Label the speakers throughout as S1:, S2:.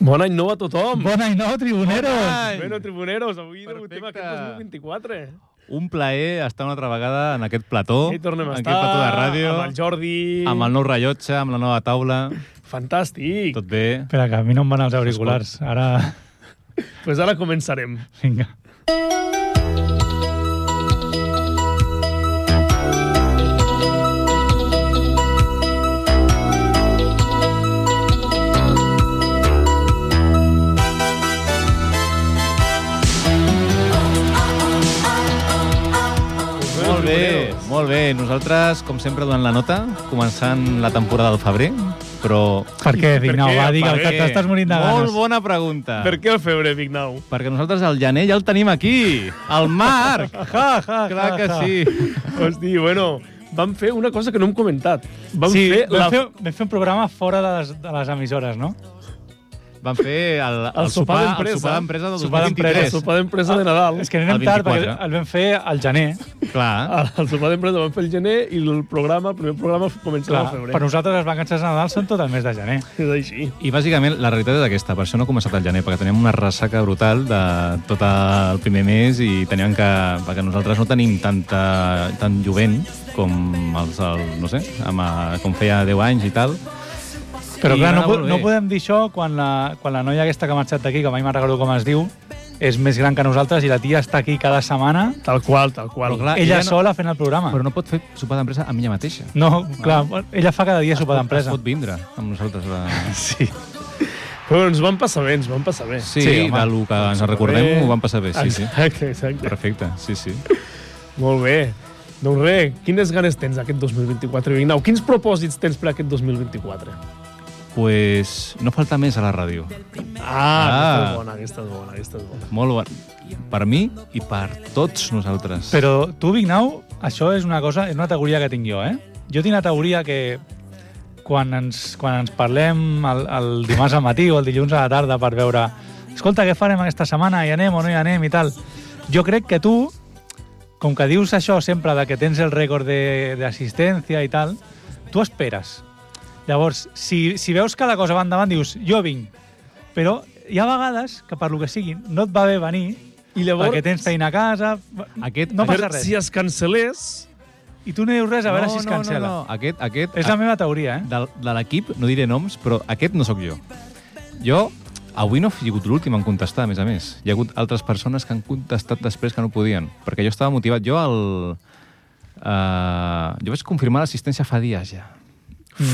S1: Bon any nou a tothom!
S2: Bon any nou, tribuneros!
S1: Bueno, tribuneros, avui debutem aquest 2024.
S3: Un plaer estar una altra vegada en aquest plató,
S1: I tornem
S3: en
S1: a
S3: aquest
S1: estar
S3: plató de tota ràdio,
S1: amb el Jordi...
S3: amb el nou rellotge, amb la nova taula,
S1: Fantàstic!
S3: tot bé.
S2: Espera, que a mi no em van els auriculars. Ara,
S1: Doncs pues ara començarem.
S2: vinga.
S3: Molt bé, molt bé. Nosaltres, com sempre, donant la nota, començant la temporada del febrer, però...
S2: Per què? Dic, no,
S1: què?
S2: va, digue'l,
S1: Per
S2: que
S1: què?
S2: t'estàs morint de
S3: Molt
S2: ganes.
S3: bona pregunta.
S1: Per què eh, el febre, Vignau?
S3: Perquè nosaltres el gener ja el tenim aquí, el Marc!
S2: Ja, ja,
S3: Clar
S2: ja,
S3: que
S2: ja.
S3: sí.
S1: Hosti, bueno, vam fer una cosa que no hem comentat. Vam
S3: Sí,
S1: fer
S2: Vam
S1: la...
S2: fer, vam fer un programa fora de les, de les emissores, no?
S3: Van fer el, el,
S1: El sopar d'empresa.
S3: El sopar d'empresa del
S2: Sopar d'empresa,
S1: el
S3: 2023.
S1: sopar d'empresa
S3: Ah,
S1: de Nadal.
S2: És que anem
S3: El
S2: tard,
S3: 24.
S2: perquè el vam fer al gener.
S3: Clar.
S1: El sopar d'empresa vam fer el gener i el programa, el primer programa començava
S2: Clar,
S1: al febrer.
S2: per nosaltres les vacances de Nadal són tot el mes de gener.
S1: És així.
S3: I bàsicament la realitat és aquesta, per això no ha començat el gener, perquè teníem una ressaca brutal de tot el primer mes i teníem que... perquè nosaltres no tenim tanta, tant jovent com els, el, no sé, amb, eh, com feia 10 anys i tal.
S2: Però
S3: I
S2: clar,
S3: va
S2: no,
S3: anar
S2: po-
S3: molt bé.
S2: no podem dir això quan la, quan la noia aquesta que ha marxat d'aquí, que mai me'n recordo com es diu, és més gran que nosaltres i la tia està aquí cada setmana,
S1: Tal qual, tal qual.
S3: Però clar, Ah,
S2: ella
S3: ella no-
S2: sola fent el programa.
S3: Però no pot fer sopar d'empresa amb ella mateixa.
S2: No, clar, ella fa cada dia sopar d'empresa.
S3: Es pot vindre amb nosaltres. La...
S1: Sí. Però ens van passar bé, ens van passar bé.
S3: Sí, sí
S2: home.
S3: de lo que ens recordem ho vam passar bé, sí, sí.
S1: Exacte, exacte.
S3: Perfecte, sí, sí.
S1: Molt bé. Doncs res, quines ganes tens aquest 2024, Vignau? Quins propòsits tens per aquest 2024?
S3: Pues no falta més a la ràdio.
S1: Ah, aquesta és bona, aquesta és bona, aquesta és bona.
S3: Molt bon. Per mi i per tots nosaltres.
S2: Però tu, Vignau, això és una cosa, és una teoria que tinc jo, eh? Jo tinc una teoria que quan ens, quan ens parlem el, el dimarts al matí o el dilluns a la tarda per veure escolta, què farem aquesta setmana? Hi anem o no hi anem i tal? Jo crec que tu, com que dius això sempre de que tens el rècord de- d'assistència i tal, tu esperes. Llavors, si, si veus que la cosa va endavant, dius, jo vinc. Però hi ha vegades que, per lo que sigui, no et va bé venir
S1: I llavors,
S2: perquè tens feina a casa...
S3: Aquest-
S2: no passa
S1: per-
S2: res.
S1: si es cancel·lés,
S2: I tu no dius res a veure
S3: no,
S2: si es
S3: no,
S2: cancela.
S3: No, no, aquest, aquest,
S2: És la meva teoria, eh?
S3: de, de l'equip, no diré noms, però aquest no sóc jo. Jo avui no he sigut l'últim en contestar, a més a més. Hi ha hagut altres persones que han contestat després que no podien, perquè jo estava motivat. Jo el... Uh, jo vaig confirmar l'assistència fa dies ja.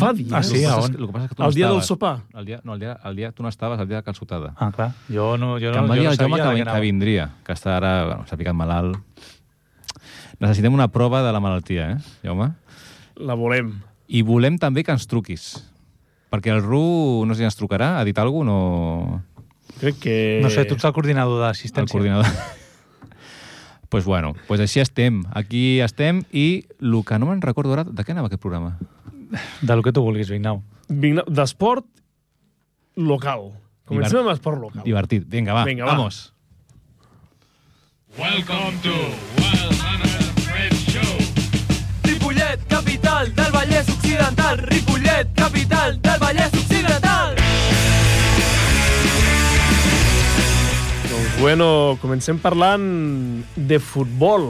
S1: fa dies.
S2: Ah, sí,
S3: el que
S2: a
S3: passa
S2: on?
S3: És, que- el que passa és que tu no
S1: El dia del
S3: estaves.
S1: sopar.
S3: El dia, no, el dia, el dia tu no estaves, el dia de calçotada.
S2: Ah, clar. Jo no, jo
S3: que em
S2: no,
S3: va dir
S2: jo no
S3: el Jaume
S2: sabia de
S3: que,
S2: què
S3: que
S2: anava.
S3: vindria, que està ara... Bueno, s'ha picat malalt. Necessitem una prova de la malaltia, eh, Jaume?
S1: La volem.
S3: I volem també que ens truquis. Perquè el Ru, no sé si ens trucarà, ha dit alguna cosa, no...
S1: Crec que...
S2: No sé, tu ets Eh, el coordinador
S3: El
S2: d'assistència.
S3: coordinador. Doncs pues bueno, pues així estem. Aquí estem i el que no me'n recordo ara, de què anava aquest programa?
S2: Del que tu vulguis, Vignau.
S1: Vignau, D'esport local. Comencem amb esport local.
S3: Divertit. Vinga, va,
S1: Vinga,
S3: Vinga,
S1: va.
S3: vamos.
S4: Welcome to Wild Hunter Fred Show.
S5: Ripollet, capital del Vallès Occidental. Ripollet, capital del Vallès Occidental.
S1: Doncs bueno, comencem parlant de futbol.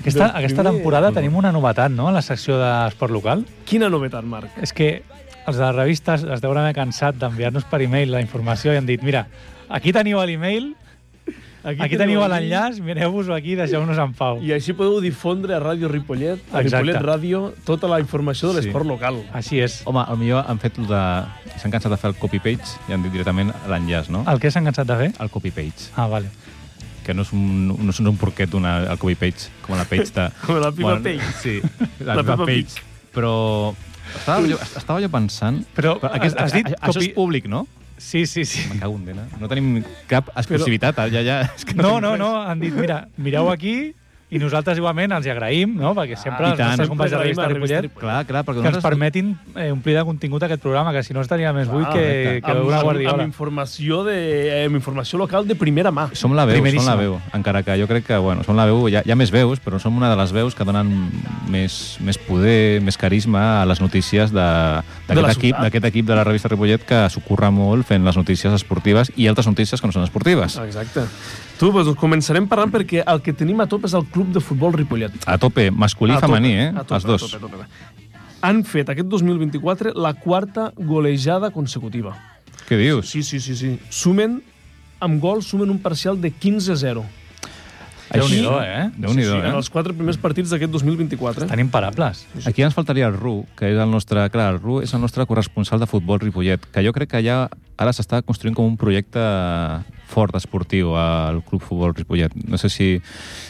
S2: Aquesta,
S1: Del
S2: aquesta
S1: primer-
S2: temporada tenim una novetat, no?, a la secció d'esport local.
S1: Quina novetat, Marc?
S2: És que els de les revistes es deuen haver cansat d'enviar-nos per e-mail la informació i han dit, mira, aquí teniu l'e-mail, aquí, aquí teniu
S1: el link.
S2: l'enllaç, mireu-vos-ho aquí i deixeu-nos en pau.
S1: I així podeu difondre a Ràdio Ripollet, a
S2: Exacte.
S1: Ripollet Ràdio, tota la informació de
S3: Sí.
S1: l'esport local.
S2: Així és.
S3: Home, potser han fet el de... S'han cansat de fer el copy-page i han dit directament l'enllaç, no?
S2: El que s'han cansat de fer?
S3: El copy-page.
S2: Ah, vale.
S3: que no és un, no és un porquet d'una al Kobe Page, com la Page de...
S1: Com la Peppa Page.
S3: Sí,
S1: La
S3: la, la
S1: Peppa
S3: Peppa Page. Però estava jo, estava jo pensant...
S2: Però has dit
S3: això, això
S2: Kobe-
S3: és públic, no?
S2: Sí, sí, sí.
S3: Me cago en dena. No tenim cap exclusivitat, ja, ja. És que
S2: No, no, no, han dit, mira, mireu aquí, I nosaltres igualment els hi agraïm, no? perquè
S1: Ah,
S2: sempre
S3: i
S2: els
S3: tant.
S2: nostres companys de
S1: Sempre
S2: revista
S1: agraïm a Revista
S2: Ripollet
S3: Clar, clar,
S2: que
S3: perquè
S2: ens
S3: nosaltres...
S2: permetin eh, omplir de contingut aquest programa, que si no estaria més buit
S1: Clar,
S2: que, que
S1: Ah, amb,
S2: una
S1: amb,
S2: guardiola.
S1: informació de, eh, amb informació local de primera mà.
S3: Som la veu, som
S2: Primeríssima.
S3: la veu, encara que jo crec que, bueno, som la veu, hi ha, hi ha més veus, però som una de les veus que donen més, més poder, més carisma a les notícies de-
S1: De la
S3: d'aquest equip,
S1: ciutat.
S3: d'aquest equip de la revista Ripollet que s'ho curra molt fent les notícies esportives i altres notícies que no són esportives.
S1: Exacte. Tu, doncs, començarem parlant perquè el que tenim a top és el Club de Futbol Ripollet.
S3: A tope, masculí i
S1: A tope,
S3: femení, eh?
S1: a tope,
S3: Els dos.
S1: a tope, a tope. Han fet aquest 2024 la quarta golejada consecutiva.
S3: Què dius?
S1: Sí, sí, sí, sí. Sumen, amb gol, sumen un parcial de 15-0.
S2: Déu-n'hi-do, eh?
S3: Déu-n'hi-do,
S1: sí,
S3: eh?
S1: en els quatre primers partits d'aquest 2024.
S2: Tan imparables.
S3: Aquí ens faltaria el Ru, que és el nostre... Clar, el Ru és el nostre corresponsal de futbol Ripollet, que jo crec que ja ara s'està construint com un projecte fort esportiu al Club Futbol Ripollet. No sé si,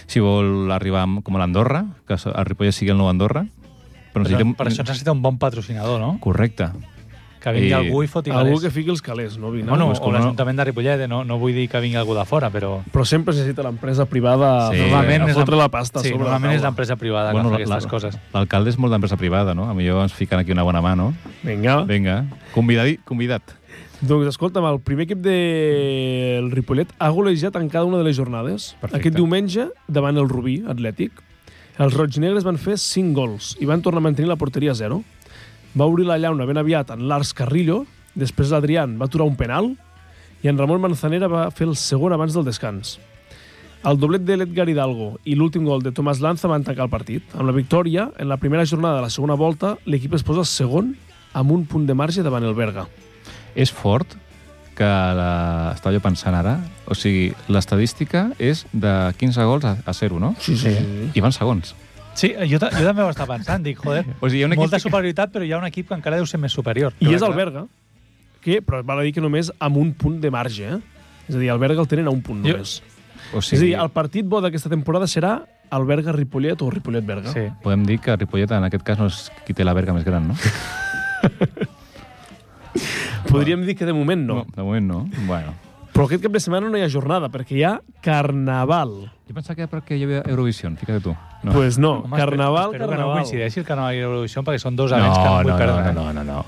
S3: si vol arribar amb- com a l'Andorra, que so- el Ripollet sigui el nou Andorra, però
S2: Però,
S3: necessitem...
S2: per això necessita un bon patrocinador, no?
S3: Correcte.
S2: Que vingui
S3: I-
S2: algú i foti
S1: Algú
S2: calés.
S1: que fiqui els calés, no? Vina?
S2: Bueno,
S3: Pues
S2: o
S3: com no.
S2: l'Ajuntament de Ripollet, eh? no, no vull dir que vingui algú de fora, però...
S1: Però sempre es necessita l'empresa privada
S3: Sí.
S1: sí,
S3: Normalment
S1: a
S2: és
S1: fotre la pasta a
S2: sí,
S1: sobre la
S2: normalment és
S1: taula.
S2: l'empresa privada bueno,
S3: Bueno,
S2: que fa
S3: la-
S2: aquestes
S3: la-
S2: coses.
S3: L'alcalde és molt d'empresa privada, no? A millor ens fiquen aquí una bona mà, no?
S1: Vinga.
S3: Vinga, convidadi, convidat.
S1: Doncs escolta'm, el primer equip del Ripollet ha golejat en cada una de les jornades.
S3: Perfecte.
S1: Aquest diumenge, davant el Rubí, Atlètic, els roignegres van fer 5 gols i van tornar a mantenir la porteria a 0. Va obrir la llauna ben aviat en Lars Carrillo, després l'Adrián va aturar un penal i en Ramon Manzanera va fer el segon abans del descans. El doblet de l'Edgar Hidalgo i l'últim gol de Tomàs Lanza van tancar el partit. Amb la victòria, en la primera jornada de la segona volta, l'equip es posa segon amb un punt de marge davant el Berga.
S3: és fort que la... estava jo pensant ara, o sigui, l'estadística és de 15 gols a, a 0, no?
S1: Sí, sí, sí.
S3: I van segons.
S2: Sí, jo, ta- jo també ho estava pensant, dic, joder,
S3: O sigui, hi ha un equip
S2: molta
S3: que-
S2: superioritat, però hi ha un equip que encara deu ser més superior.
S1: I és el
S3: clar.
S1: Berga, que, però val a dir que només amb un punt de marge, eh? És a dir, el Berga el tenen a un punt
S2: Jo-
S1: només.
S3: O
S1: Sí. És a
S3: sigui,
S1: dir, el partit bo d'aquesta temporada serà el Berga-Ripollet o Ripollet-Berga.
S2: Sí.
S3: podem dir que Ripollet en aquest cas no és qui té la verga més gran, no?
S1: Podríem dir que de moment no.
S3: De moment no. Bueno.
S1: no. Però aquest cap de setmana no hi ha jornada, perquè hi ha Carnaval.
S3: Jo pensava que era perquè hi havia Eurovisió, fica't tu.
S1: No. Pues no,
S2: Home,
S1: Carnaval,
S2: espero, espero que no
S1: Carnaval.
S2: coincideixi el Carnaval i l'Eurovisió, perquè són dos events que no vull perdre.
S3: no, no,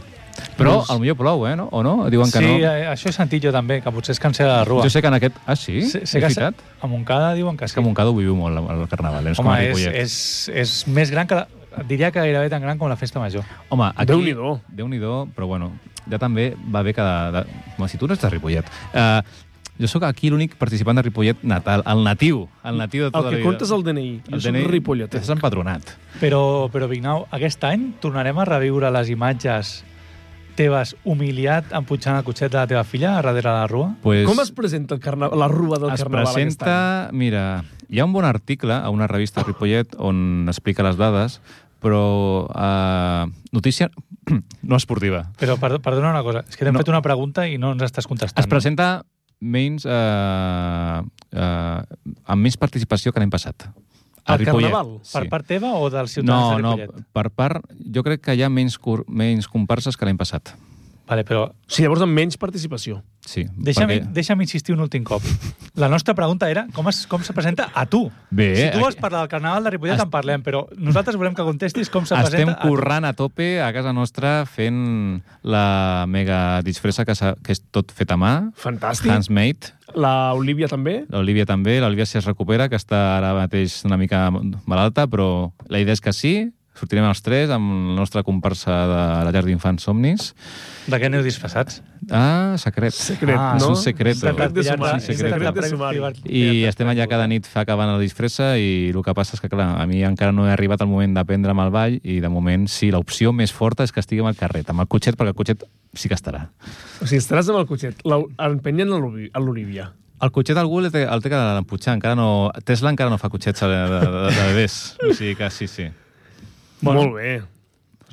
S3: Però al millor plou, eh? No? O no? Diuen que
S2: sí,
S3: no.
S2: eh, això he sentit jo també, que potser es cancela la rua.
S3: Jo sé que en aquest... Ah, sí?
S2: sé, sé
S3: és
S2: que se-
S3: veritat?
S2: a Montcada diuen que
S3: És
S2: sí.
S3: que a Montcada ho viu molt, el carnaval. eh? No és com
S2: Home,
S3: a
S2: és,
S3: Ripollet.
S2: és, és més gran que la, diria que gairebé tan gran com la festa major.
S3: Home, aquí...
S1: Déu-n'hi-do.
S3: Déu-n'hi-do, però bueno, ja també va bé que... De, de... Home, si tu no ets de Ripollet... Uh, jo sóc aquí l'únic participant de Ripollet natal, el natiu, el natiu de
S1: El
S3: tota la
S1: que
S3: vida.
S1: compta és el DNI. Jo el soc
S3: DNI,
S1: Ripollet.
S3: Estàs empadronat.
S2: Però, però Vignau, aquest any tornarem a reviure les imatges teves humiliat empuixant el cotxet de la teva filla a darrere la rua?
S3: Pues,
S1: Com es presenta el carna... la rua del
S3: es
S1: Carnaval aquest any?
S3: presenta... Mira, hi ha un bon article a una revista de Ripollet on explica les dades, però eh, notícia no esportiva.
S2: Però per, perdona una cosa, és que t'hem
S3: No.
S2: fet una pregunta i no ens estàs contestant.
S3: Es presenta menys, eh, eh, amb menys participació que l'any passat. A
S1: Al
S3: Ripollet,
S1: Carnaval?
S2: Per part teva o dels ciutadans
S3: no,
S2: de
S3: no,
S2: Ripollet?
S3: per part, jo crec que hi ha menys, cur, menys comparses que l'any passat.
S2: Vale, però
S1: Sí, llavors amb menys participació.
S3: Sí,
S2: deixa'm,
S3: perquè...
S2: deixa'm insistir un últim cop. La nostra pregunta era com, es, com se presenta a tu.
S3: Bé,
S2: si tu vols
S3: aquí-
S2: parlar del Carnaval de Ripollet,
S3: Est-
S2: en parlem, però nosaltres volem que contestis com se
S3: Estem
S2: presenta
S3: currant a tope a casa nostra fent la mega disfressa que, s'ha- que és tot fet a mà,
S1: Fantàstic. Hans.
S3: handsmade.
S1: La Olivia també.
S3: L'Olivia també, l'Olivia si es recupera, que està ara mateix una mica malalta, però la idea és que sí, sortirem els tres amb la nostra comparsa de la llar d'infants Somnis.
S2: a tu. De què aneu disfressats?
S3: Ah, secret.
S1: Secret,
S2: Ah,
S3: és
S1: no?
S3: un secret.
S1: Secret de sumari.
S3: Sí, secret.
S1: Secret de sumari.
S3: I estem allà cada nit fa acabant la disfressa i el que passa és que, clar, a mi encara no he arribat al moment d'aprendre amb el ball i, de moment, sí, l'opció més forta és que estiguem al carret, amb el cotxet, perquè el cotxet sí que estarà.
S1: O sigui, estaràs amb el cotxet, la- empenyent a l'Oli- a l'Olivia.
S3: El cotxet algú el té, el té que l'emputxar, encara no... Tesla encara no fa cotxets de, de, de, de bebès, o sigui que sí, sí.
S1: Bueno. Molt bé.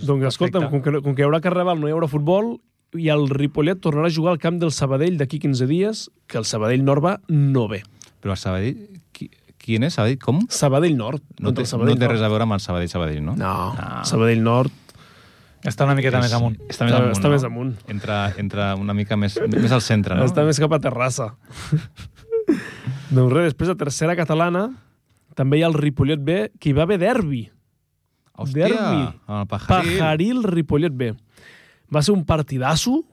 S1: Doncs escolta'm, com que, no- com que hi haurà Carnaval, no hi haurà futbol, i el Ripollet tornarà a jugar al camp del Sabadell d'aquí 15 dies, que el Sabadell Nord va no bé.
S3: Però el Sabadell... Qui, quin és Sabadell? Com?
S1: Sabadell Nord.
S3: No
S1: doncs
S3: té,
S1: el
S3: no
S1: Sabadell
S3: té
S1: Nord.
S3: res a Ah. veure amb el Sabadell-Sabadell, no?
S1: No, Sabadell Nord.
S2: Està una miqueta més amunt.
S3: Està més amunt,
S1: Està
S3: no?
S1: més amunt.
S3: Entre, entre una mica més, més al centre,
S1: No?
S3: no?
S1: Està més cap a Terrassa. doncs res, després a tercera catalana També hi ha el Ripollet B, que hi va haver derbi.
S3: Hòstia,
S1: Derbi.
S3: el pajaril.
S1: Pajaril Ripollet B. Va ser un partidasso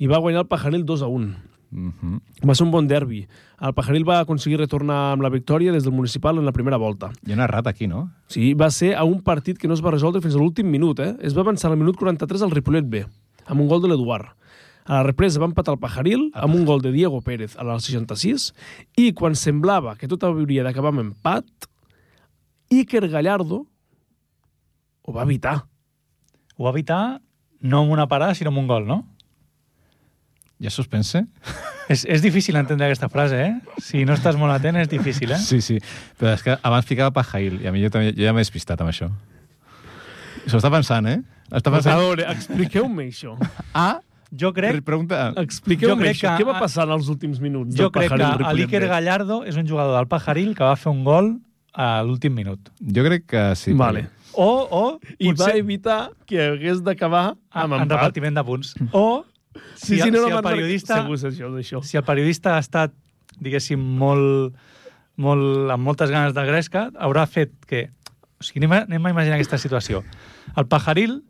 S1: i va guanyar el Pajaril 2 a 1.
S3: Mhm.
S1: Va ser un bon derbi. El Pajaril va aconseguir retornar amb la victòria des del municipal en la primera volta.
S3: Hi ha una rata aquí, no?
S1: Sí, va ser a un partit que no es va resoldre fins a l'últim minut, eh? Es va avançar al minut 43 al Ripollet B, amb un gol de l'Eduard. A la represa va empatar el Pajaril amb un gol de Diego Pérez a l'al 66 i quan semblava que tot hauria d'acabar amb empat, Iker Gallardo ho va evitar.
S2: Ho va evitar no amb una parada, sinó amb un gol, no?
S3: Hi ha suspense?
S2: És, és difícil entendre aquesta frase, eh? Si no estàs molt atent, és difícil, eh?
S3: Sí, sí. Però és que abans ficava pajail i a mi jo, també, jo ja m'he despistat amb això. S'ho està pensant, eh? Està
S1: A
S3: pensant...
S1: veure, expliqueu-me això.
S3: Ah,
S2: Jo crec,
S3: pregunta...
S1: Expliqueu-me
S2: crec
S1: això.
S2: que
S1: Què va
S2: a-
S1: passar en els últims minuts
S2: jo
S1: del
S2: crec
S1: Pajaril
S2: que l'Iker
S1: Ripollet B?
S2: Gallardo és un jugador del Pajaril que va fer un gol a l'últim minut.
S3: Jo crec que sí.
S1: Vale.
S2: O, o
S1: I va
S2: potser Ah,
S1: evitar que hagués d'acabar
S2: en,
S1: amb
S2: en
S1: empat.
S2: repartiment de punts. O si, si,
S1: no,
S2: si
S1: no
S2: el
S1: van marcar-
S2: periodista...
S1: Segur és això, d'això.
S2: si el periodista ha estat, diguéssim, molt, molt, amb moltes ganes de gresca, haurà fet que... O sigui, anem a, anem a imaginar aquesta situació. El Pajaril,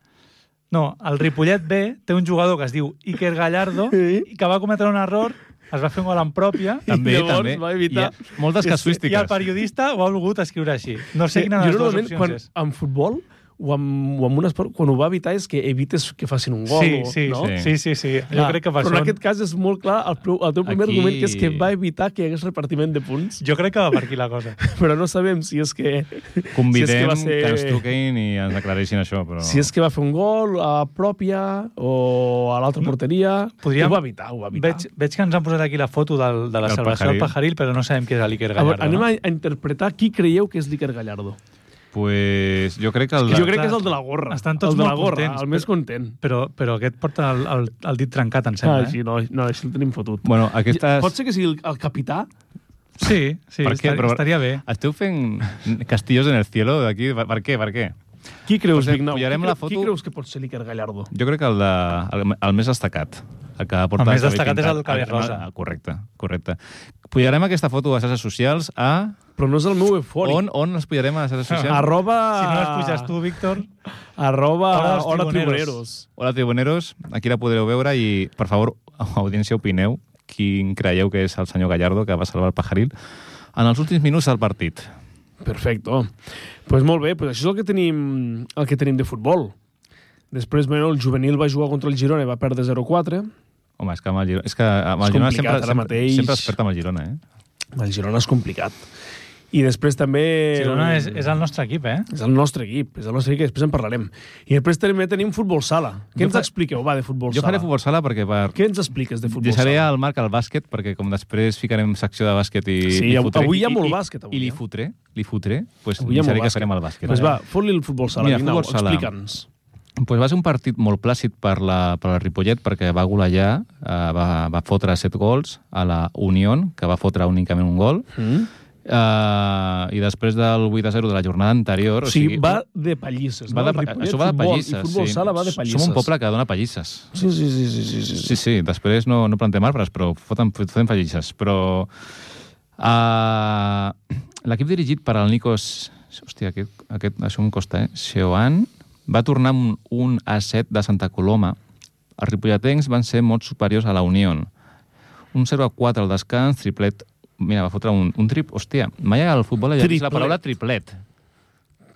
S2: no, el Ripollet B té un jugador que es diu Iker Gallardo
S1: Sí.
S2: i que va cometre un error, es va fer un gol en pròpia
S3: També,
S1: llavors
S3: també.
S1: va evitar-
S3: Hi ha moltes
S2: i el
S3: casuístiques.
S2: periodista ho ha volgut escriure així. No sé quina de les dues opcions
S1: quan,
S2: és.
S1: en futbol o en, o en un esport, quan ho va evitar és que evites que facin un gol.
S2: Sí,
S1: o,
S2: sí,
S1: no?
S2: sí, sí, sí, sí. Jo crec que va
S1: Però
S2: ser
S1: en
S2: un-
S1: aquest cas és molt clar el, pro- el teu primer
S3: Aquí-
S1: argument, que és que va evitar que hi hagués repartiment de punts,
S2: Jo crec que va per aquí la cosa.
S1: però no sabem si és que... si és
S3: Convidem
S1: que va
S3: que,
S1: ser...
S3: ens truquin i ens aclareixin això, però...
S1: Si és que va fer un gol a pròpia o a l'altra porteria...
S2: Podríem-
S1: Ho va evitar, ho va evitar.
S2: Veig, veig que ens han posat aquí la foto del, de la
S3: Del
S2: salvació del Pajaril,
S3: Pajaril.
S2: però no sabem qui és l'Iker
S1: A
S2: Gallardo.
S1: veure, anem
S2: no?
S1: a, a interpretar qui creieu que és l'Iker Gallardo.
S3: Pues jo crec que... El...
S1: Jo crec que és el de la gorra.
S2: Estan tots
S1: el de la
S2: molt
S1: gorra,
S2: contents,
S1: el més content.
S2: Però, però aquest porta el, el, el dit trencat, em
S1: Ah,
S2: sembla.
S1: sí,
S2: eh?
S1: no, no, això el tenim fotut.
S3: Bueno, aquestes...
S1: Pot ser que sigui el, el capità?
S2: Sí, sí,
S3: Per què?
S2: estar,
S3: Però-
S2: estaria bé.
S3: Esteu fent castillos en el cielo d'aquí? Per, per què? Per què?
S1: Qui creus,
S3: Josep,
S1: Vignau?
S3: pujarem
S1: qui,
S3: la
S1: cre- Qui
S3: foto?
S1: creus que pot ser l'Iker Gallardo?
S3: Jo crec que el, de, el, el més destacat. El, que porta
S2: El més
S3: cabell
S2: destacat és el
S3: pintat.
S2: cabell rosa.
S3: Ah, correcte, correcte. Pujarem aquesta foto a xarxes socials a...
S1: Però no és el meu eufòric.
S3: On, on les pujarem a les xarxes socials?
S1: Arroba...
S2: Si no les puges tu, Víctor...
S1: Arroba
S2: Hora dels
S1: Hora
S2: Tribuneros.
S1: Tribuneros.
S3: Hola, tribuneros. Aquí la podreu veure i, per favor, audiència, opineu quin creieu que és el senyor Gallardo que va salvar el pajaril en els últims minuts del partit.
S1: Perfecto. Pues molt bé, pues això és el que tenim, el que tenim de futbol. Després, bueno, el juvenil va jugar contra el Girona i va perdre 0-4.
S3: Home, és que amb el Girona, és que amb
S1: És
S3: el Girona
S1: complicat
S3: sempre,
S1: ara
S3: sempre,
S1: mateix.
S3: sempre es perd amb el Girona, eh?
S1: El Girona és complicat. I després també...
S2: Girona és, és el nostre equip, eh?
S1: És el nostre equip, és el nostre equip, que després en parlarem. I després també tenim futbol sala. Què
S3: Jo
S1: ens
S3: fa-
S1: expliqueu, va, de futbol
S3: Jo
S1: sala?
S3: faré futbol sala perquè per...
S1: Què ens expliques de futbol
S3: Deixaré
S1: sala?
S3: al Marc el bàsquet, perquè com després ficarem secció de bàsquet i
S1: Sí,
S3: li
S1: av-
S3: fotré,
S1: avui hi ha
S3: i-
S1: molt
S3: i-
S1: bàsquet, avui,
S3: I li
S1: eh?
S3: fotré, li fotré, doncs
S1: Avui hi ha
S3: deixaré
S1: molt
S3: que farem el bàsquet.
S1: Pues va, fot-li el futbol sala,
S3: Mira,
S1: Vignau,
S3: futbol sala.
S1: explica'ns.
S3: Pues va ser un partit molt plàcid per la, per la Ripollet perquè va golejar, eh, va, va fotre set gols a la Unión, que va fotre únicament un gol,
S1: Mm?
S3: eh, i després del 8-0 de la jornada anterior...
S1: O sigui, va de pallisses. no?
S3: va de, pa-
S1: Ripollet
S3: això va de
S1: futbol
S3: pallisses.
S1: I futbol
S3: sí.
S1: sala va de pallisses.
S3: Som un poble que dona pallisses.
S1: Sí, sí, sí. sí, sí, sí.
S3: Sí, sí, després no, no plantem arbres, però foten, foten fallisses. Però uh, l'equip dirigit per al Nikos... Hòstia, aquest, aquest, això em costa, eh? Seoan va tornar amb un a 7 de Santa Coloma. Els ripolletens van ser molt superiors a la Unió. Un 0 a 4 al descans, triplet... Mira, va fotre un, un trip... Hòstia, mai al futbol havia vist la
S1: Triplet.
S3: paraula triplet.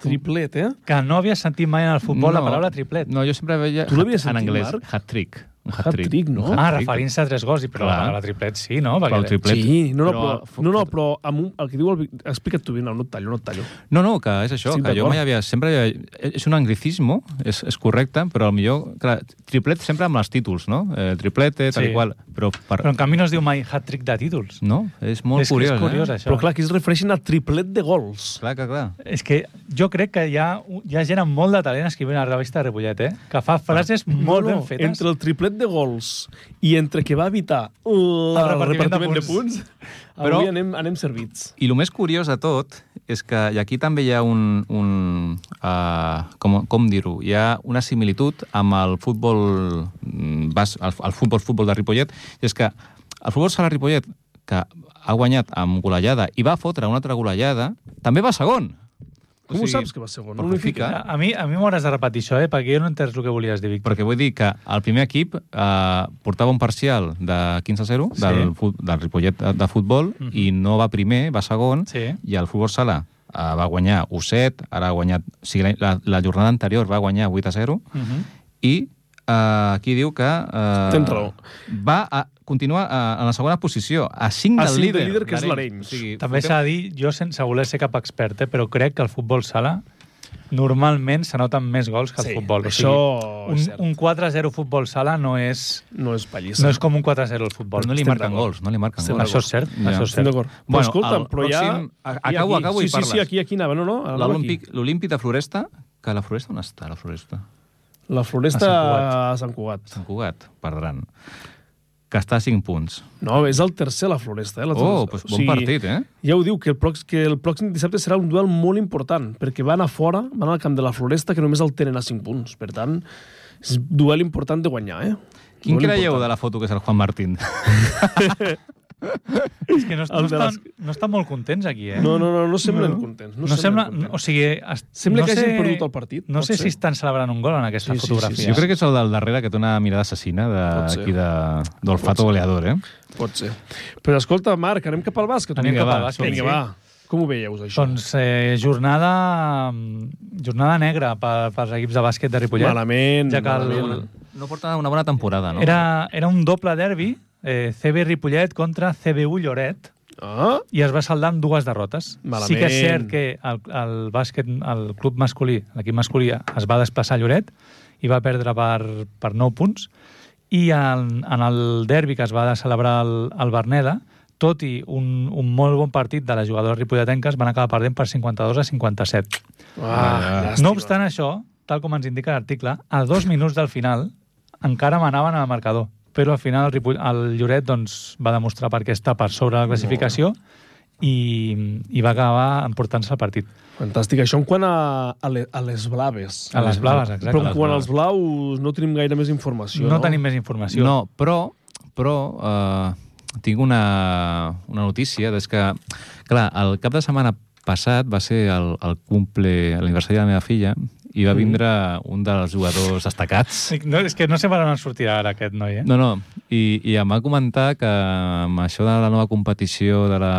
S1: Triplet, eh?
S2: Que no havia sentit mai en el futbol no. la paraula triplet. No.
S3: No, jo sempre veia...
S1: Tu l'havies
S3: en
S1: sentit,
S3: anglès,
S1: Marc?
S3: hat-trick. Un
S1: Hat-trick, no?
S3: Un
S2: Ah,
S3: hat-trick.
S2: referint-se a tres gols, i però
S3: Clar.
S2: la paraula triplet sí, no?
S3: Però el triplet...
S1: Sí, no, no, però,
S3: fo-
S1: no, no, però amb un, el que diu el... Vic- Explica't tu, Vignau, no et tallo, no et tallo.
S3: No, no, que és això,
S1: Sí,
S3: sí, que jo
S1: d'acord.
S3: mai havia... Sempre havia, és un anglicismo, és, és correcte, però al millor... Clar, triplet sempre amb els títols, no? Eh, triplet, eh, tal
S2: Sí.
S3: i qual. Però, per,
S2: Però en canvi no es diu mai hat-trick de títols.
S3: no, és molt
S2: és, que
S3: curiós,
S2: és curiós,
S3: eh?
S2: això.
S1: Però clar, aquí es refereixen a triplet de gols.
S3: Clar, que clar.
S2: És que jo crec que hi ha, hi ha gent amb molt de talent escrivint a la revista de Ripollet, eh? Que fa frases
S1: No, no,
S2: molt ben fetes.
S1: Entre el triplet de gols i entre que va evitar el, el
S2: repartiment de
S1: repartiment de
S2: punts.
S1: punts,
S3: Però-
S1: avui anem, anem servits.
S3: I el més curiós de tot és que, i aquí també hi ha un... un uh, com com dir-ho? Hi ha una similitud amb el futbol, mm, bas, el, el futbol futbol de Ripollet, i és que el futbol sala Ripollet que ha guanyat amb golejada i va fotre una altra golejada, també va segon.
S1: Com ho saps que va segon?
S3: per
S1: No unifica.
S3: unificar.
S2: A mi, a mi m'hauràs de repetir això, eh? perquè jo no he entès el que volies dir, Víctor.
S3: Perquè vull dir que el primer equip eh, portava un parcial de 15 a 0
S2: Sí.
S3: del, fut, del Ripollet de, de futbol
S2: Mhm.
S3: i no va primer, va segon
S2: Sí.
S3: i el futbol sala eh, va guanyar 1 7, ara ha guanyat... O sigui, la- la, la jornada anterior va guanyar 8 a 0
S2: Uh -huh.
S3: i eh, aquí diu que... Eh,
S1: Tens raó.
S3: Va a continuar eh, en la segona posició, a 5
S1: A
S3: del
S1: cinc
S3: líder.
S1: del líder, que és l'Arenys.
S2: També s'ha de dir, jo sense voler ser cap expert, eh? però crec que el futbol sala normalment s'anoten més gols que el
S1: Sí,
S2: futbol.
S1: això
S2: o
S1: és
S2: sigui,
S1: cert.
S2: un, un 4-0 futbol sala no és,
S1: No és
S2: no
S1: pallissa.
S2: és com un 4-0 al futbol.
S3: Però no li
S2: Estem
S3: marquen
S2: d'acord.
S3: gols, no li marquen
S2: Estem
S3: gols.
S2: Això és cert,
S3: Ja.
S2: això és
S1: Estem
S2: cert.
S1: d'acord. Però
S3: Bueno,
S1: escolta,
S3: el
S1: però ja...
S3: pròxim- a-
S1: ja
S3: acabo,
S1: aquí.
S3: acabo i
S1: sí, Sí, sí,
S3: parles.
S1: aquí, aquí anava. No, no, anava aquí.
S3: L'Olímpic l'Olímpic de Floresta, que la Floresta on està, la Floresta?
S1: La floresta a
S2: A
S1: Sant Cugat.
S3: Sant Cugat, perdran. Que està a 5 punts.
S1: No, és el tercer, la floresta. Eh? La
S3: Oh,
S1: tercera.
S3: doncs
S1: O
S3: bon
S1: sigui,
S3: partit, eh?
S1: Ja ho diu, que el, prox, que el pròxim dissabte serà un duel molt important, perquè van a fora, van al camp de la Floresta, que només el tenen a 5 punts. Per tant, és un duel important de guanyar, eh?
S3: Quin
S1: Molt
S3: creieu
S1: important.
S3: de la foto que és el Juan Martín?
S2: És que no,
S1: El
S2: no,
S1: de les-
S2: estan, no estan molt contents aquí, eh?
S1: No, no, no, no semblen contents.
S2: No,
S1: No,
S2: no sembla...
S1: semblen contents.
S2: O sigui... Es,
S1: Sembla
S2: no
S1: que
S2: sé,
S1: hagin perdut el partit,
S2: No
S1: pot
S2: sé
S1: ser.
S2: si estan celebrant un gol en aquesta
S1: Sí, sí, sí,
S2: fotografia.
S1: sí,
S3: Jo crec que és el del darrere que té una mirada assassina
S1: Pot ser.
S3: de- aquí de- d'olfato de, goleador, eh?
S1: Pot ser. Però escolta, Marc, anem cap al bàsquet.
S2: Anem
S3: Vinga,
S2: cap al
S3: va,
S2: bàsquet.
S1: Vinga,
S2: sí.
S1: va. Com ho veieu, això?
S2: Doncs eh, jornada, jornada negra per, pels equips de bàsquet de Ripollet.
S1: Malament,
S2: Ja que el,
S1: malament.
S3: No porta una bona temporada, no?
S2: era, era un doble derbi, eh, CB Ripollet contra CBU Lloret,
S1: Ah?
S2: i es va saldar amb dues derrotes.
S1: Malament.
S2: Sí que és cert que el, el bàsquet, el club masculí, l'equip masculí, es va desplaçar a Lloret i va perdre per, per 9 punts. I en, en el derbi que es va celebrar al, al Berneda, tot i un, un molt bon partit de les jugadores ripolletenques, van acabar perdent per 52 a 57.
S1: Ah,
S2: No obstant això, tal com ens indica l'article, a dos minuts del final encara manaven al marcador. Però al final el, Ripoll, el Lloret doncs, va demostrar per què està per sobre la classificació i, i va acabar emportant-se el partit.
S1: Fantàstic. Això en quant a, a, le, a les blaves.
S2: A les blaves, exacte.
S1: Però
S2: a
S1: en
S2: les
S1: quant
S2: blaves.
S1: als blaus no tenim gaire més informació, no?
S2: no tenim més informació.
S3: No, però, però eh, tinc una, una notícia, des que, clar, el cap de setmana passat va ser el, el cumple, l'aniversari de la meva filla, i
S1: Mm.
S3: va vindre un dels jugadors destacats.
S2: Sí, no és que no sé per on ens sortirà ara aquest noi, eh?
S3: No, no, i, i em va comentar que amb això de la nova competició de la,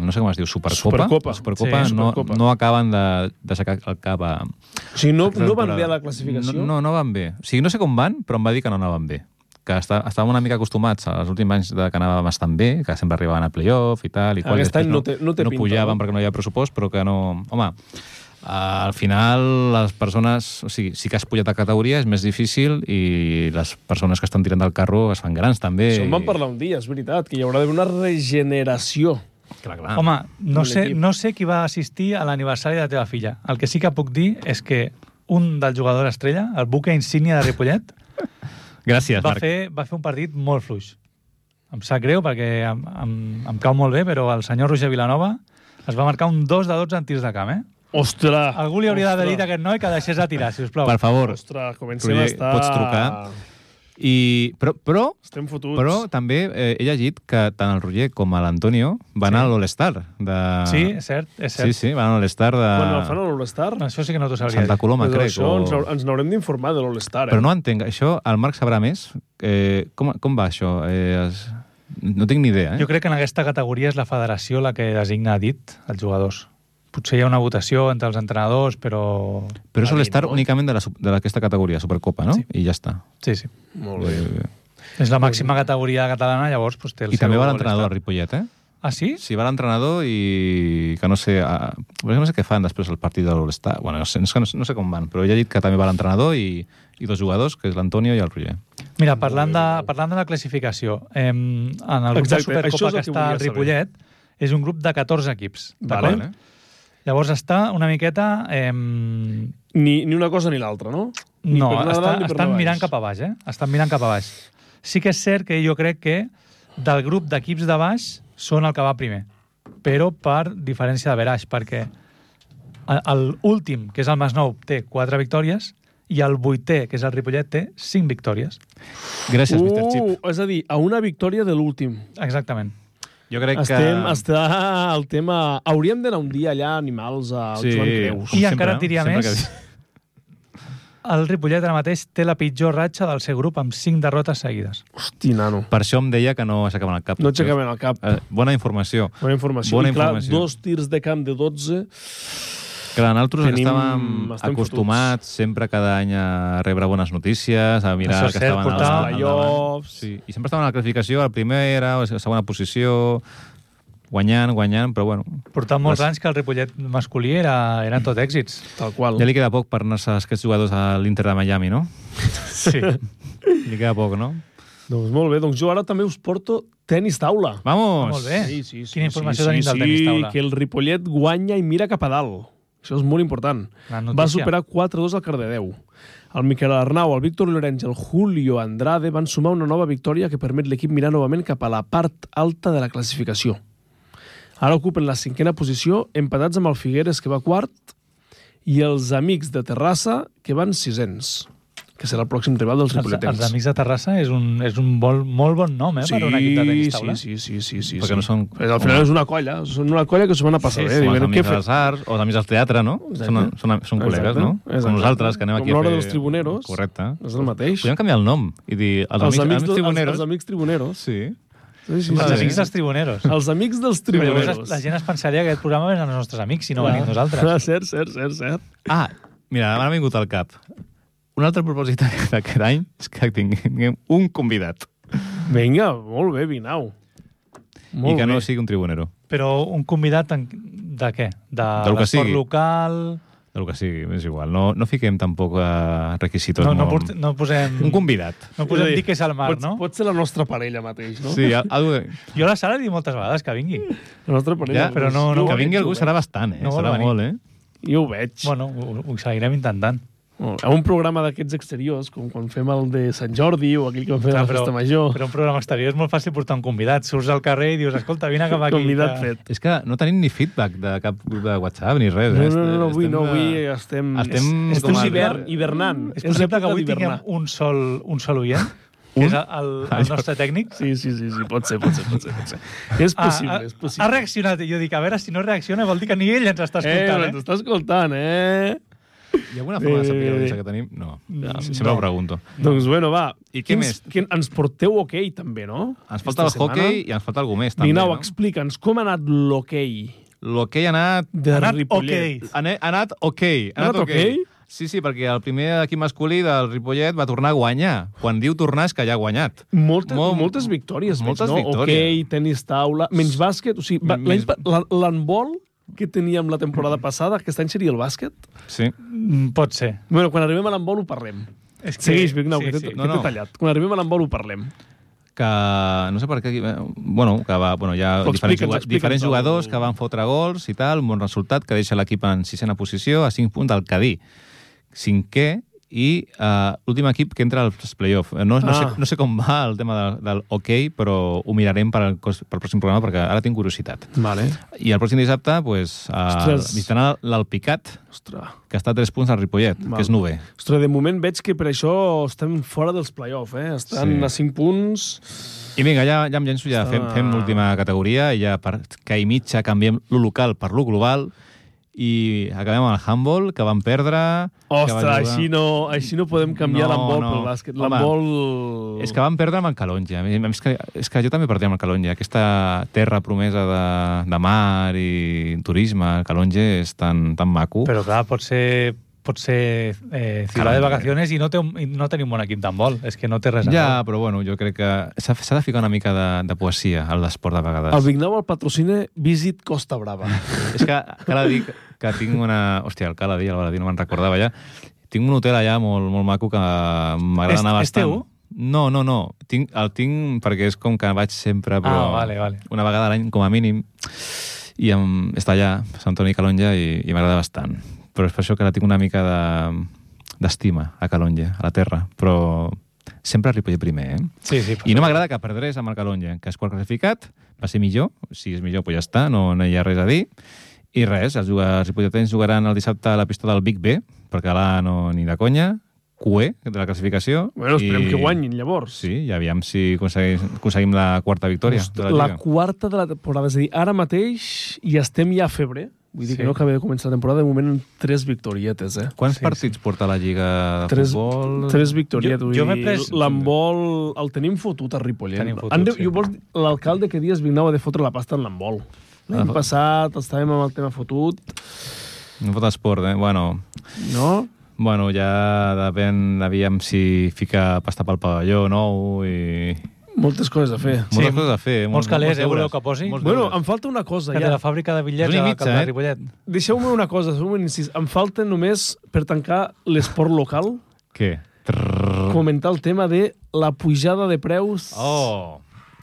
S3: no sé com es diu, Supercopa,
S1: Supercopa.
S3: Supercopa,
S1: Sí,
S3: no,
S1: Supercopa.
S3: no acaben de- d'aixecar el cap a...
S1: O sigui, no, no van
S3: temporada.
S1: bé a la classificació?
S3: No, no, no van bé. O sigui, no sé com van, però em va dir que no anaven bé. Que està, estàvem una mica acostumats als últims anys de que anàvem bastant bé, que sempre arribaven a playoff i tal. I qual,
S1: Aquest
S3: i després
S1: any no té- no té
S3: no
S1: pinta,
S3: pujaven
S1: no?
S3: perquè no hi havia pressupost, però que no... Home, eh, al final les persones... O sigui, sí que has pujat a categoria, és més difícil i les persones que estan tirant del carro es fan grans també.
S1: Això en vam
S3: i-
S1: parlar un dia, és veritat, que hi haurà d'haver una regeneració.
S3: Clar, clar.
S2: Home, no
S1: Un
S2: sé,
S1: equip.
S2: no sé qui va assistir a l'aniversari de la teva filla. El que sí que puc dir és que un dels jugadors estrella, el buque insígnia de Ripollet,
S3: Gràcies,
S2: va
S3: Marc.
S2: fer, va fer un partit molt fluix. Em sap greu perquè em, em, em cau molt bé, però el senyor Roger Vilanova es va marcar un 2 de 12 en tirs de camp, eh?
S1: Ostres!
S2: Algú li hauria d'haver dit a
S1: Ostres,
S2: aquest noi que deixés de tirar, si us plau.
S3: Per favor.
S1: Ostres, comencem a
S3: Roger,
S1: estar...
S3: pots trucar? I, però, però
S1: Estem fotuts.
S3: Però també eh, he llegit que tant el Roger com l'Antonio van sí. a l'All-Star. De...
S2: Sí, és cert, és
S3: sí,
S2: cert.
S3: sí, van a l'All-Star de
S1: Quan el fan a l'All-Star,
S2: Això sí que no t'ho sabria
S3: Santa
S2: dir.
S3: Coloma,
S1: doncs
S3: eh, crec.
S1: això
S3: o...
S1: ens, haur- ens n'haurem d'informar de l'All-Star. Eh?
S3: Però no entenc, això el Marc sabrà més. Eh, com, com va això? Eh, es... No tinc ni idea, eh?
S2: Jo crec que en aquesta categoria és la federació la que designa a dit els jugadors. Potser hi ha una votació entre els entrenadors, però...
S3: Però és
S2: a dit,
S3: l'All-Star
S2: no? eh?
S3: únicament de la sub- de d'aquesta categoria, Supercopa, no?
S2: Sí.
S3: I ja està.
S2: Sí, sí.
S1: Molt bé.
S3: Eh,
S2: És la màxima categoria catalana, llavors doncs, té el
S3: I també
S2: seu
S3: va l'entrenador,
S2: All-Star.
S3: a Ripollet, eh?
S2: Ah, sí?
S3: Sí, va l'entrenador i que no sé... A... Però no sé què fan després del partit de l'All-Star. Bueno, no sé, no, sé, no sé com van, però he llegit que també va l'entrenador i, i dos jugadors, que és l'Antonio i el Roger.
S2: Mira, parlant de, parlant de la classificació, em, en el grup
S1: Exacte,
S2: de
S1: això
S2: Supercopa
S1: és el
S2: que
S1: que
S2: està
S1: volia
S2: al Ripollet, és un grup de 14 equips.
S1: Vale.
S2: d'acord?
S3: eh?
S2: Llavors està una miqueta... Em,
S1: Ni, ni una cosa ni l'altra, no? Ni
S2: no,
S1: per
S2: està,
S1: Nadal, ni per
S2: estan
S1: Nadal.
S2: mirant cap a baix, eh? Estan mirant cap a baix. Sí que és cert que jo crec que del grup d'equips de baix són el que va primer, però per diferència de veraix, perquè el- el últim, que és el Masnou, té 4 victòries i el vuitè, que és el Ripollet, té 5 victòries.
S3: Gràcies, Mr. Chip.
S1: Uh, és a dir, a una victòria de l'últim.
S2: Exactament.
S3: Jo crec
S1: Estem,
S3: que...
S1: està el tema... Hauríem d'anar un dia allà, animals, al
S3: Sí.
S1: Joan Creus.
S3: Com
S2: I
S3: sempre,
S2: encara et diria
S3: sempre
S2: més, el Ripollet ara mateix té la pitjor ratxa del seu grup amb 5 derrotes seguides.
S1: Hosti, nano.
S3: Per això em deia que no aixecaven el cap.
S1: No aixecaven el cap.
S3: Eh, bona informació.
S1: Bona informació.
S3: Bona
S1: I clar,
S3: informació.
S1: dos tirs de camp de 12.
S3: Que nosaltres
S1: Tenim-
S3: Tenim... estàvem
S1: estem
S3: acostumats sempre cada any a rebre bones notícies, a mirar
S2: Això és
S3: que
S2: cert,
S3: estaven al-
S2: portar-
S3: al davant.
S1: Playoffs.
S3: Sí. I sempre estaven a la classificació, a la primera, a la segona posició, guanyant, guanyant, però bueno,
S2: Portant molts
S3: Les-
S2: anys que el Ripollet masculí era, eren tot èxits.
S1: Tal qual.
S3: ja li queda poc per anar-se aquests jugadors a l'Inter de Miami, no?
S2: Sí.
S3: Li queda poc, no?
S1: Doncs molt bé. Doncs jo ara també us porto tenis taula.
S3: Vamos!
S2: Molt bé.
S1: Sí, sí, sí,
S2: Quina informació tenim del tenis taula?
S1: que el Ripollet guanya i mira cap a dalt. Això és molt important.
S2: La notícia.
S1: Va superar 4-2 al Cardedeu. El Miquel Arnau, el Víctor Llorenç i el Julio Andrade van sumar una nova victòria que permet l'equip mirar novament cap a la part alta de la classificació. Ara ocupen la cinquena posició, empatats amb el Figueres, que va quart, i els amics de Terrassa, que van sisens, que serà el pròxim rival dels
S2: Els,
S1: ripolletens.
S2: els Amics de Terrassa és un, és un bol, molt bon nom, eh, per un equip de tenis taula.
S1: Sí, sí, sí, sí, sí. sí.
S3: Perquè no són-
S1: Però Al final és una colla, són una colla que s'ho van a passar
S2: Sí,
S1: bé.
S2: sí,
S3: Com els
S1: diuen, què
S3: amics
S1: fe-
S3: dels arts, o els amics del teatre, no?
S1: Exacte.
S3: Són, són, són col·legues, no?
S1: Exacte.
S3: Com nosaltres, que anem
S1: Com
S3: aquí a
S1: l'hora
S3: fer...
S1: dels tribuneros.
S3: Correcte.
S1: És el mateix.
S3: Podríem canviar el nom i dir els,
S1: Els,
S3: amics,
S1: amics,
S3: amics
S1: dels els,
S3: tribuneros.
S1: els amics tribuneros.
S3: Sí.
S1: Sí, sí, sí.
S2: Els
S3: Sí.
S2: Amics dels Tribuneros.
S1: Els amics dels
S2: Llavors,
S1: tribuneros.
S2: la gent es pensaria que aquest programa eren els nostres amics i no venim
S1: Ah,
S2: nosaltres.
S1: cert, cert, cert, cert.
S3: Ah, mira, m'ha vingut al cap. Un altre propòsit d'aquest any és que tinguem un convidat
S1: Vinga, molt bé, Vinau. Molt
S3: i que no
S1: bé.
S3: sigui un tribunero,
S2: Però un convidat en... de què? De
S3: Del que
S2: l'esport
S3: sigui.
S2: local...
S3: del que sigui, és igual. No, no fiquem tampoc eh, requisitos.
S2: No, no,
S3: molt-
S2: porte- no posem...
S3: Un convidat.
S2: No
S1: És a
S2: posem
S1: dir,
S2: dir que és el mar,
S1: pot,
S2: no?
S1: Pot ser la nostra parella mateix, no?
S3: Sí, al- algo de...
S2: Jo a la Sara li dic moltes vegades que vingui.
S1: La nostra parella.
S3: Ja,
S1: mateix.
S2: però no- no-
S1: Jo ho
S3: que vingui
S1: veig,
S3: algú
S1: jo ho
S3: serà bastant, eh?
S2: No vol
S3: serà
S2: venir.
S3: molt, eh?
S1: veig. Jo ho veig.
S2: Bueno, ho, ho seguirem intentant.
S1: A un programa d'aquests exteriors, com quan fem el de Sant Jordi o aquell que vam fer de la
S2: però,
S1: Festa Major,
S2: però un programa exterior és molt fàcil portar un convidat. Surts al carrer i dius, escolta, vine cap aquí.
S1: convidat
S2: que-
S1: fet.
S3: És que no tenim ni feedback de cap grup de WhatsApp ni res.
S1: No,
S3: eh?
S1: no, no, no, avui
S3: Estem,
S1: no,
S3: eh,
S1: avui estem...
S3: estem
S1: és,
S3: com
S1: estem
S3: a-
S1: hivern, hivernant.
S2: És possible que
S1: època
S2: avui tinguem
S1: d'hivernar.
S2: un sol, un sol oient, que és el, el nostre tècnic.
S1: Sí, sí, sí, sí, pot ser, pot ser, pot ser. Pot ser. És possible, és possible.
S2: Ah, Ha reaccionat, i jo dic, a veure, si no reacciona vol dir que ni ell ens està
S1: Eh, eh?
S2: escoltant, eh?
S1: t'està escoltant, eh?
S3: Hi ha alguna forma de saber
S1: Eh,
S3: l'audiència que tenim? No, no sempre ho pregunto.
S1: Doncs bueno, va.
S3: I què més?
S1: Quin, ens porteu hoquei, també, no?
S3: Ens falta el
S1: Aquesta setmana.
S3: hockey i ens falta algú més, també.
S1: Vinau,
S3: no?
S1: explica'ns com ha anat l'hoquei
S3: L'hoquei ha anat...
S1: de
S2: Ha anat
S1: Ripollet.
S2: hoquei.
S3: Ha ne- ha anat ok. Ha
S1: Ha anat
S3: anat ok.
S1: ok?
S3: Sí, sí, perquè el primer equip masculí del Ripollet va tornar a guanyar. Quan diu tornar és que ja ha guanyat.
S1: Moltes,
S3: Molt-
S1: moltes victòries. veig,
S3: moltes
S1: no?
S3: victòries.
S1: Hoquei, tenis taula, menys bàsquet. O sigui, va- l'any
S3: Menys-
S1: pa- la- l'handbol que teníem la temporada passada, aquest any seria el bàsquet.
S3: Sí.
S2: Mm, Pot ser.
S1: Bueno, quan arribem a l'handbol ho parlem.
S2: És que-
S1: Segueix, Vignau, sí, que
S2: sí.
S1: t'he
S3: No,
S1: no,
S3: no.
S1: no. tallat. Quan arribem a l'embol ho parlem.
S3: Que no sé per què... eh, Bueno, que va, bueno, hi ha
S1: Però
S3: diferents,
S1: explica'ns,
S3: juga-
S1: explica'ns
S3: diferents
S1: el-
S3: jugadors que van fotre gols i tal, un bon resultat que deixa l'equip en sisena posició, a 5 punts del Cadí. Cinquè i eh, l'últim equip que entra als play-off. Eh, No, no,
S1: Ah.
S3: sé, no sé com va el tema del, del hoquei, però ho mirarem per al, cos- pel pròxim programa perquè ara tinc curiositat.
S1: Vale.
S3: I el pròxim dissabte, pues, eh,
S1: Ostres.
S3: visitant l'Alpicat,
S1: Ostres.
S3: que està a 3 punts al Ripollet,
S1: Val.
S3: que és nove.
S1: Ostres, de moment veig que per això estem fora dels play-off, eh? Estan
S3: Sí.
S1: sí. a 5 punts.
S3: I vinga, ja, ja em llenço, ja
S1: Està-
S3: fem, fem l'última categoria, i ja per que i mitja canviem lo local per lo global, i acabem amb el handball, que van perdre...
S1: Ostres,
S3: que van
S1: així no, així no podem canviar
S3: No,
S1: l'embol
S3: no.
S1: pel bàsquet.
S3: Home,
S1: L'embol...
S3: És que van perdre amb el Calonja. És que, és que jo també perdia amb el Calonja. Aquesta terra promesa de, de mar i turisme, el Calonja és tan, tan maco.
S2: Però clar, pot ser pot ser eh, ciutat
S3: Caram,
S2: de vacaciones i no, té, un- i no tenim un equip d'handbol. És que no té res a
S3: Ja, però bueno, jo crec que s'ha s'ha de ficar una mica de, de poesia a l'esport de vegades.
S1: El Vignau el patrocina Visit Costa Brava.
S3: És que cal dir que tinc una... Hòstia, el cal dir, el cal dir, no me'n recordava ja. Tinc un hotel allà molt, molt maco que m'agrada
S2: És-
S3: anar
S2: és
S3: bastant.
S2: teu?
S3: No, no, no. Tinc, el tinc perquè és com que vaig sempre, però...
S2: Ah, vale, vale.
S3: Una vegada a l'any, com a mínim. I em, està allà, a Sant Antoni Calonja, i, i m'agrada bastant. Però és per això que ara tinc una mica de d'estima a Calonja, a la terra. Però sempre a Ripollet primer, eh?
S2: Sí, sí.
S3: I no m'agrada que perdrés amb el Calonja, que és quart classificat, va ser millor, si és millor, doncs ja està, no, no hi ha res a dir. I res, els jugadors ripolletens jugaran el dissabte a la pista del Big B, perquè l'A no ni de conya, cué de la classificació.
S1: Bueno, esperem
S3: i-
S1: que guanyin, llavors.
S3: Sí, i aviam si aconseguim, aconseguim la quarta victòria de la
S1: la
S3: Lliga.
S1: quarta de la temporada. És a dir, ara mateix i estem ja a febre. Vull dir
S2: Sí.
S1: que no acaba de començar la temporada. De moment, tres victorietes, eh?
S3: Quants
S2: Sí,
S3: partits porta la Lliga de
S1: Tres,
S3: futbol?
S1: tres victorietes.
S2: Jo-
S1: vull
S2: jo m'he
S1: dir,
S2: pres-
S1: L'embol el tenim fotut a Ripollet.
S2: Tenim fotut,
S1: Han de,
S2: sí.
S1: jo vols dir, L'alcalde que dies Vignau ha de fotre la pasta en l'embol. L'any
S3: Ah.
S1: passat estàvem amb el tema fotut,
S3: No fot esport, eh? Bueno,
S1: no?
S3: bueno ja depèn, aviam si fica pasta pel pavelló nou i...
S1: Moltes coses a fer.
S3: Moltes
S2: Sí,
S3: coses a fer.
S2: molts calés, eh,
S3: deures.
S2: voleu que posi?
S3: Molts
S1: Bueno,
S3: deures.
S1: em falta una cosa,
S2: Que té
S1: ja.
S2: la fàbrica de bitllets
S3: Un i
S2: a la
S3: mig,
S2: Calda de
S3: eh?
S2: Ripollet.
S1: Deixeu-me una cosa, feu un incís. Em falta només, per tancar l'esport local,
S3: Què?
S2: Ah.
S3: Trrr.
S1: comentar el tema de la pujada de preus
S3: Oh!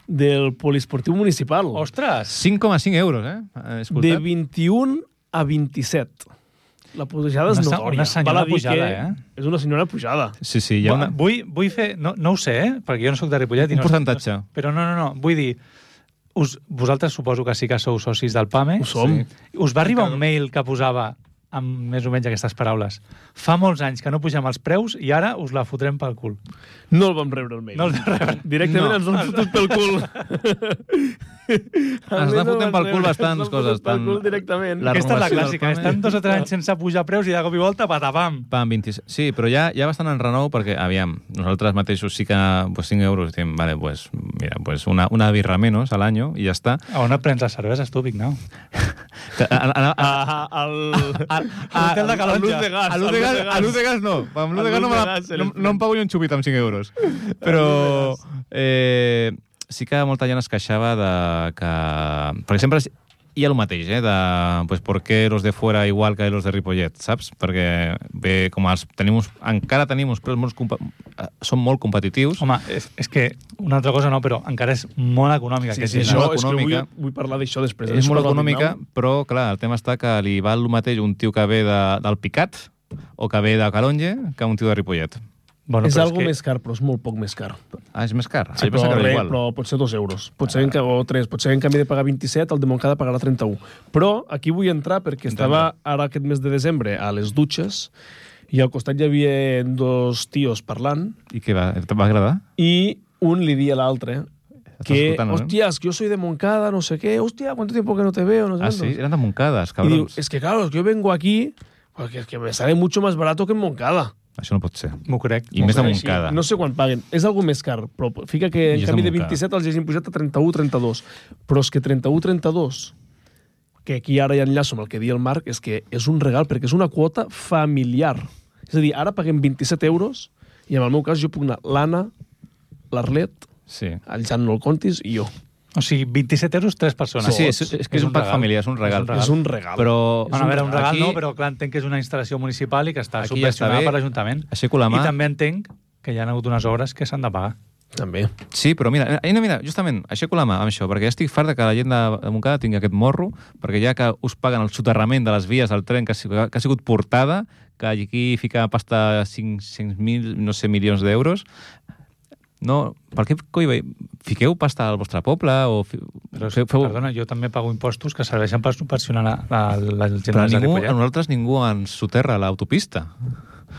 S1: del poliesportiu municipal.
S2: Ostres!
S3: 5,5 euros, eh? Eh,
S1: de
S3: Escoltat?
S1: 21 a 27. La pujada és
S2: Una se-
S1: notòria.
S2: una senyora
S1: Val a dir
S2: pujada,
S1: que
S2: eh?
S1: És una senyora pujada.
S3: Sí, sí, hi
S2: Va,
S3: ha una...
S2: Vull, vull fer... No, no ho sé, eh? perquè jo no sóc de Ripollet. i
S3: Un
S2: no sé-
S3: percentatge.
S2: Però no, no, no. Vull dir, us, vosaltres suposo que sí que sou socis del PAME.
S1: Ho som.
S2: Us va arribar un mail que posava amb més o menys aquestes paraules. Fa molts anys que no pugem els preus i ara us la fotrem pel cul.
S1: No el vam rebre el mail.
S2: No el vam rebre.
S1: Directament
S3: No.
S1: ens l'han fotut pel cul.
S3: Ens l'han fotent
S1: fotent
S3: pel cul bastants coses,
S1: Pel
S3: tant-
S1: cul directament.
S3: La
S2: Aquesta és la
S3: renovació del
S2: clàssica.
S3: PAME.
S2: Estan dos o tres anys sense pujar preus i de cop i volta, patapam.
S3: Pam, 26. Sí, però ja, ja bastant en renou perquè, aviam, nosaltres mateixos sí que pues, 5 euros, diem, vale, pues, mira, pues una, una birra menos al año i ja està.
S2: A on et prens les cerveses, tu, Vignau?
S3: Que, a, a, a, a,
S1: El...
S3: a,
S2: Hotel de Calonja.
S3: a Ah, Luz de Gas. A Luz de Gas, a Luz de Gas no. Amb Luz de Gas no, me
S1: A
S3: la,
S1: Luz de Gas,
S3: no, no em pago jo un xupit amb 5 euros. Però eh, sí que molta gent es queixava de que... Per exemple, hi ha el mateix, eh? De, pues, ¿Por qué los de fuera igual que los de Ripollet, saps? Perquè bé, com els tenim, uns- encara tenim uns preus molt, compa- eh, són molt competitius.
S2: Home, és, és que una altra cosa no, però encara és molt econòmica.
S3: Sí,
S2: que
S3: sí,
S2: és
S1: Això,
S3: molt
S1: és que vull,
S3: econòmica.
S1: vull parlar d'això després.
S3: és
S1: Això
S3: molt
S1: parla el
S3: econòmica,
S1: Vignau.
S3: però clar, el tema està que li val el mateix un tio que ve de, del Picat o que ve de Calonge que un tio de Ripollet.
S2: Bueno,
S1: és
S2: però
S1: algo
S2: que-
S1: més car, però és molt poc més car.
S3: Ah, és més car.
S1: Sí,
S3: ah, jo pensava
S1: però,
S3: que era
S1: re,
S3: igual.
S1: però potser 2 euros. Potser en, ca- o 3. Potser en canvi de pagar 27, el de Montcada pagarà 31. Però aquí vull entrar perquè estava ara aquest mes de desembre a les dutxes i al costat hi havia dos tios parlant
S3: I què va? Et va agradar?
S1: i un li dia a l'altre que,
S3: escoltant, eh? no?
S1: hòstia, és que jo soy de Moncada, no sé què, hòstia, ¿cuánto tiempo que no te veo? No sé
S3: Ah,
S1: cuántos".
S3: sí? Eren de Montcades,
S1: Y digo,
S3: cabrons.
S1: es que claro, es que yo vengo aquí porque es que me sale mucho más barato que en Moncada.
S3: Això no pot ser.
S2: M'ho crec.
S3: I més de
S1: Així,
S3: Montcada.
S1: no sé quan paguen. És algo més car, però fica que
S3: I
S1: en
S3: és de
S1: canvi de
S3: Montcada.
S1: 27 els hagin pujat a 31-32. Però és que 31-32, que aquí ara ja enllaço amb el que di el Marc, és que és un regal, perquè és una quota familiar. És a dir, ara paguem 27 euros i en el meu cas jo puc anar l'Anna, l'Arlet,
S3: Sí.
S1: el Jan no el contis i jo.
S2: O sigui, 27 euros, tres persones.
S3: Sí, sí, és, és que és un pack
S2: regal.
S3: familiar, és un regal.
S1: És un regal.
S3: Però...
S2: Bueno, a veure, un regal
S3: aquí,
S2: no, però clar, entenc que és una instal·lació municipal i que està
S3: Aquí ja està
S2: subvencionada
S3: bé.
S2: per l'Ajuntament.
S3: Aixeco la mà.
S2: I també entenc que hi ha hagut unes obres que s'han de pagar.
S1: També.
S3: Sí, però mira, eh, no, mira, justament, aixeco la mà amb això, perquè ja estic fart de que la gent de de Montcada tingui aquest morro, perquè ja que us paguen el soterrament de les vies del tren que ha, sigut- que ha sigut portada, que aquí fica pasta 500.000, no sé, milions d'euros, no, per què coi, vei- fiqueu pasta al vostre poble o fi,
S2: Però, feu, feu... Perdona, jo també pago impostos que serveixen per subvencionar la, la, la gent
S3: però
S2: de
S3: ningú, a
S2: Ripollet,
S3: nosaltres ningú ens soterra l'autopista.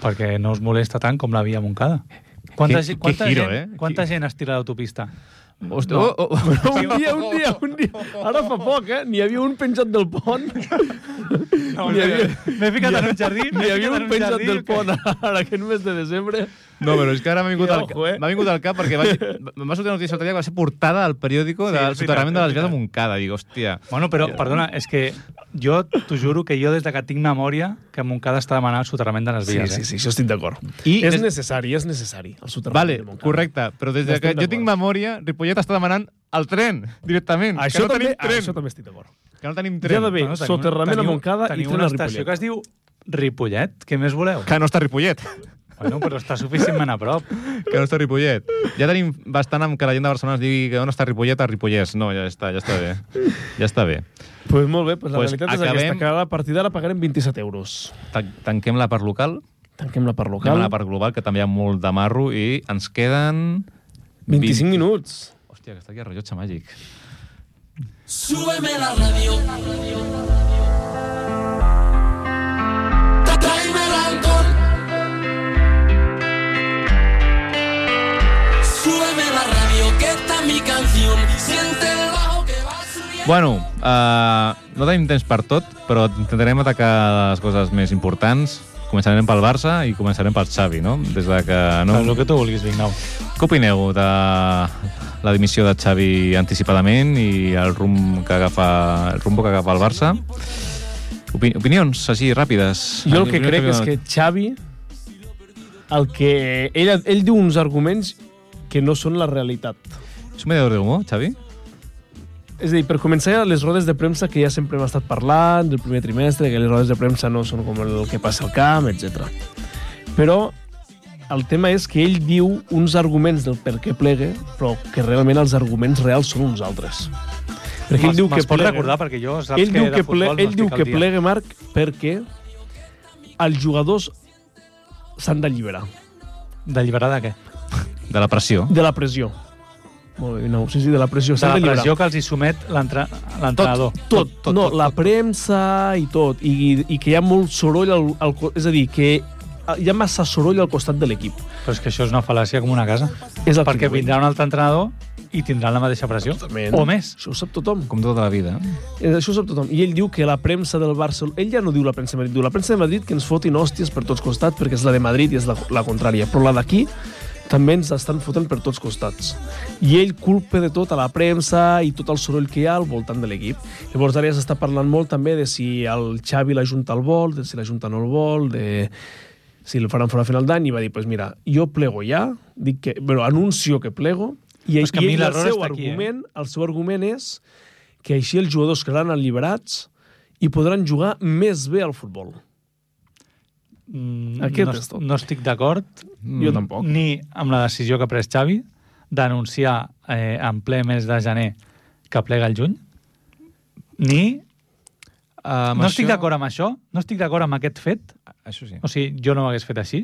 S2: perquè no us molesta tant com la via Montcada. Quanta,
S3: Que-
S2: gent-
S3: que
S2: quanta,
S3: giro,
S2: gent,
S3: eh?
S2: quanta gent es tira a l'autopista?
S3: Hosti, no. oh, oh.
S1: Però un dia, un dia, un dia... Ara fa poc, eh? N'hi havia un penjat del pont.
S2: No,
S1: N'hi havia-
S2: M'he ficat en un jardí,
S1: N'hi havia
S2: ficat en
S1: un penjat
S2: jardí,
S1: del
S2: que-
S1: pont ara aquest mes de desembre.
S3: No, però és que ara m'ha vingut, al,
S1: Ojo, eh?
S3: m'ha vingut al cap perquè vaig, em va sortir una notícia l'altre dia que va ser portada al
S2: Sí,
S3: periòdico sí, del
S2: és veritat,
S3: soterrament de
S2: és
S3: les vies de
S2: veritat.
S3: Montcada. Dic, hòstia...
S2: Bueno, però, perdona, és que jo t'ho juro que jo des de que tinc memòria que Montcada està demanant el soterrament de les
S1: Sí,
S2: vies.
S1: sí,
S2: eh?
S1: sí, això estic d'acord.
S3: I
S1: És
S3: des-
S1: necessari, és necessari, el soterrament
S3: Vale,
S1: de Montcada.
S3: correcte, però des de
S1: Estem
S3: que jo
S1: d'acord.
S3: tinc memòria, Ripollet està demanant el tren, directament.
S1: Això,
S3: que no
S1: també, ah,
S3: tenim tren.
S1: això també estic d'acord.
S3: Que no tenim
S1: Hi ha
S3: tren.
S1: d'haver
S2: Bueno, tenim-
S1: soterrament
S2: teniu-
S1: a Montcada i
S2: teniu
S1: tren a
S2: una
S1: Ripollet.
S2: estació que es diu Ripollet, què més voleu?
S3: Que no està Ripollet.
S2: Bueno, però està suficientment a prop.
S3: Que no està Ripollet. Ja tenim bastant amb que la gent de Barcelona es digui que on està Ripollet a Ripollès. No, ja està, ja està bé. Ja està bé.
S1: Pues molt bé, pues la
S3: Pues
S1: realitat és
S3: acabem-
S1: aquesta, que ara a partir d'ara pagarem 27 euros.
S3: Tan- Tanquem la part local,
S1: Tanquem la part
S3: anem
S1: local.
S3: a la part global, que també hi ha molt de marro, i ens queden...
S1: 25 minuts.
S3: Hòstia, que està aquí el rellotge màgic.
S6: Súbeme la radio. Tráeme el alcohol.
S3: Bueno, uh, no tenim temps per tot, però intentarem atacar les coses més importants. Començarem pel Barça i començarem pel Xavi, no? Des de que...
S2: No.
S3: No...
S2: El que tu vulguis, Vignau.
S3: Què opineu de la dimissió de Xavi anticipadament i el rumb que agafa, el rumbo que agafa el Barça? Opi opinions, així, ràpides.
S1: Jo el que
S3: Opinions
S1: crec és que
S3: ràpides.
S1: Xavi, el que... Ell, ell diu uns arguments que no són la realitat.
S3: És un mediador d'humor, Xavi?
S1: És a dir, per començar, ja les rodes de premsa que ja sempre hem estat parlant, del primer trimestre, que les rodes de premsa no són com el que passa al camp, etc. Però el tema és que ell diu uns arguments del per què plega, però que realment els arguments reals són uns altres. Perquè ell diu que
S2: Me'ls pots
S1: plega-
S2: recordar, perquè jo saps
S1: ell
S2: que
S1: diu
S2: de
S1: que,
S2: futbol
S1: ple,
S2: no
S1: ell diu
S2: estic al
S1: que
S2: dia.
S1: plega, Marc, perquè els jugadors s'han d'alliberar
S2: D'alliberar de què?
S3: De la pressió.
S1: de la pressió. Molt bé, no, sí, sí, de la pressió.
S2: De
S1: S'han
S2: Doncs la
S1: d'alliberar.
S2: pressió que els hi somet l'entre- l'entrenador.
S1: tot, tot, no, tot, la premsa i tot, i, i que hi ha molt soroll, al, al, co- és a dir, que hi ha massa soroll al costat de l'equip.
S2: Però és que això és una fal·làcia com una casa.
S1: És el
S2: Perquè
S1: que diuen.
S2: vindrà un altre entrenador i tindran la mateixa pressió.
S1: Totalment.
S2: O més.
S1: Això ho sap tothom.
S3: Com tota la vida.
S1: Eh, Això ho sap tothom. I ell diu que la premsa del Barcelona... Ell ja no diu la premsa de Madrid, diu la premsa de Madrid que ens fotin hòsties per tots costats perquè és la de Madrid i és la, la contrària. Però la d'aquí també ens estan fotent per tots costats. I ell culpa de tot a la premsa i tot el soroll que hi ha al voltant de l'equip. Llavors ara ja s'està parlant molt també de si el Xavi la Junta el vol, de si la Junta no el vol, de si el faran fora a final d'any i va dir, pues mira, jo plego ja, dic que, bueno, anuncio que plego, i,
S2: És que a
S1: i
S2: mi
S1: ell, el
S2: l'error
S1: seu
S2: està aquí, eh?
S1: argument, el seu argument és que així els jugadors quedaran alliberats i podran jugar més bé al futbol.
S2: Mm,
S1: Aquest
S2: no,
S1: és tot.
S2: no estic d'acord
S3: Mm.
S1: Jo tampoc.
S2: ni amb la decisió que ha pres Xavi d'anunciar eh, en ple mes de gener que plega el juny, ni...
S3: Uh,
S2: Eh, no estic d'acord amb això, no estic d'acord amb aquest fet.
S3: Això sí.
S2: O sigui, jo no ho hagués fet així.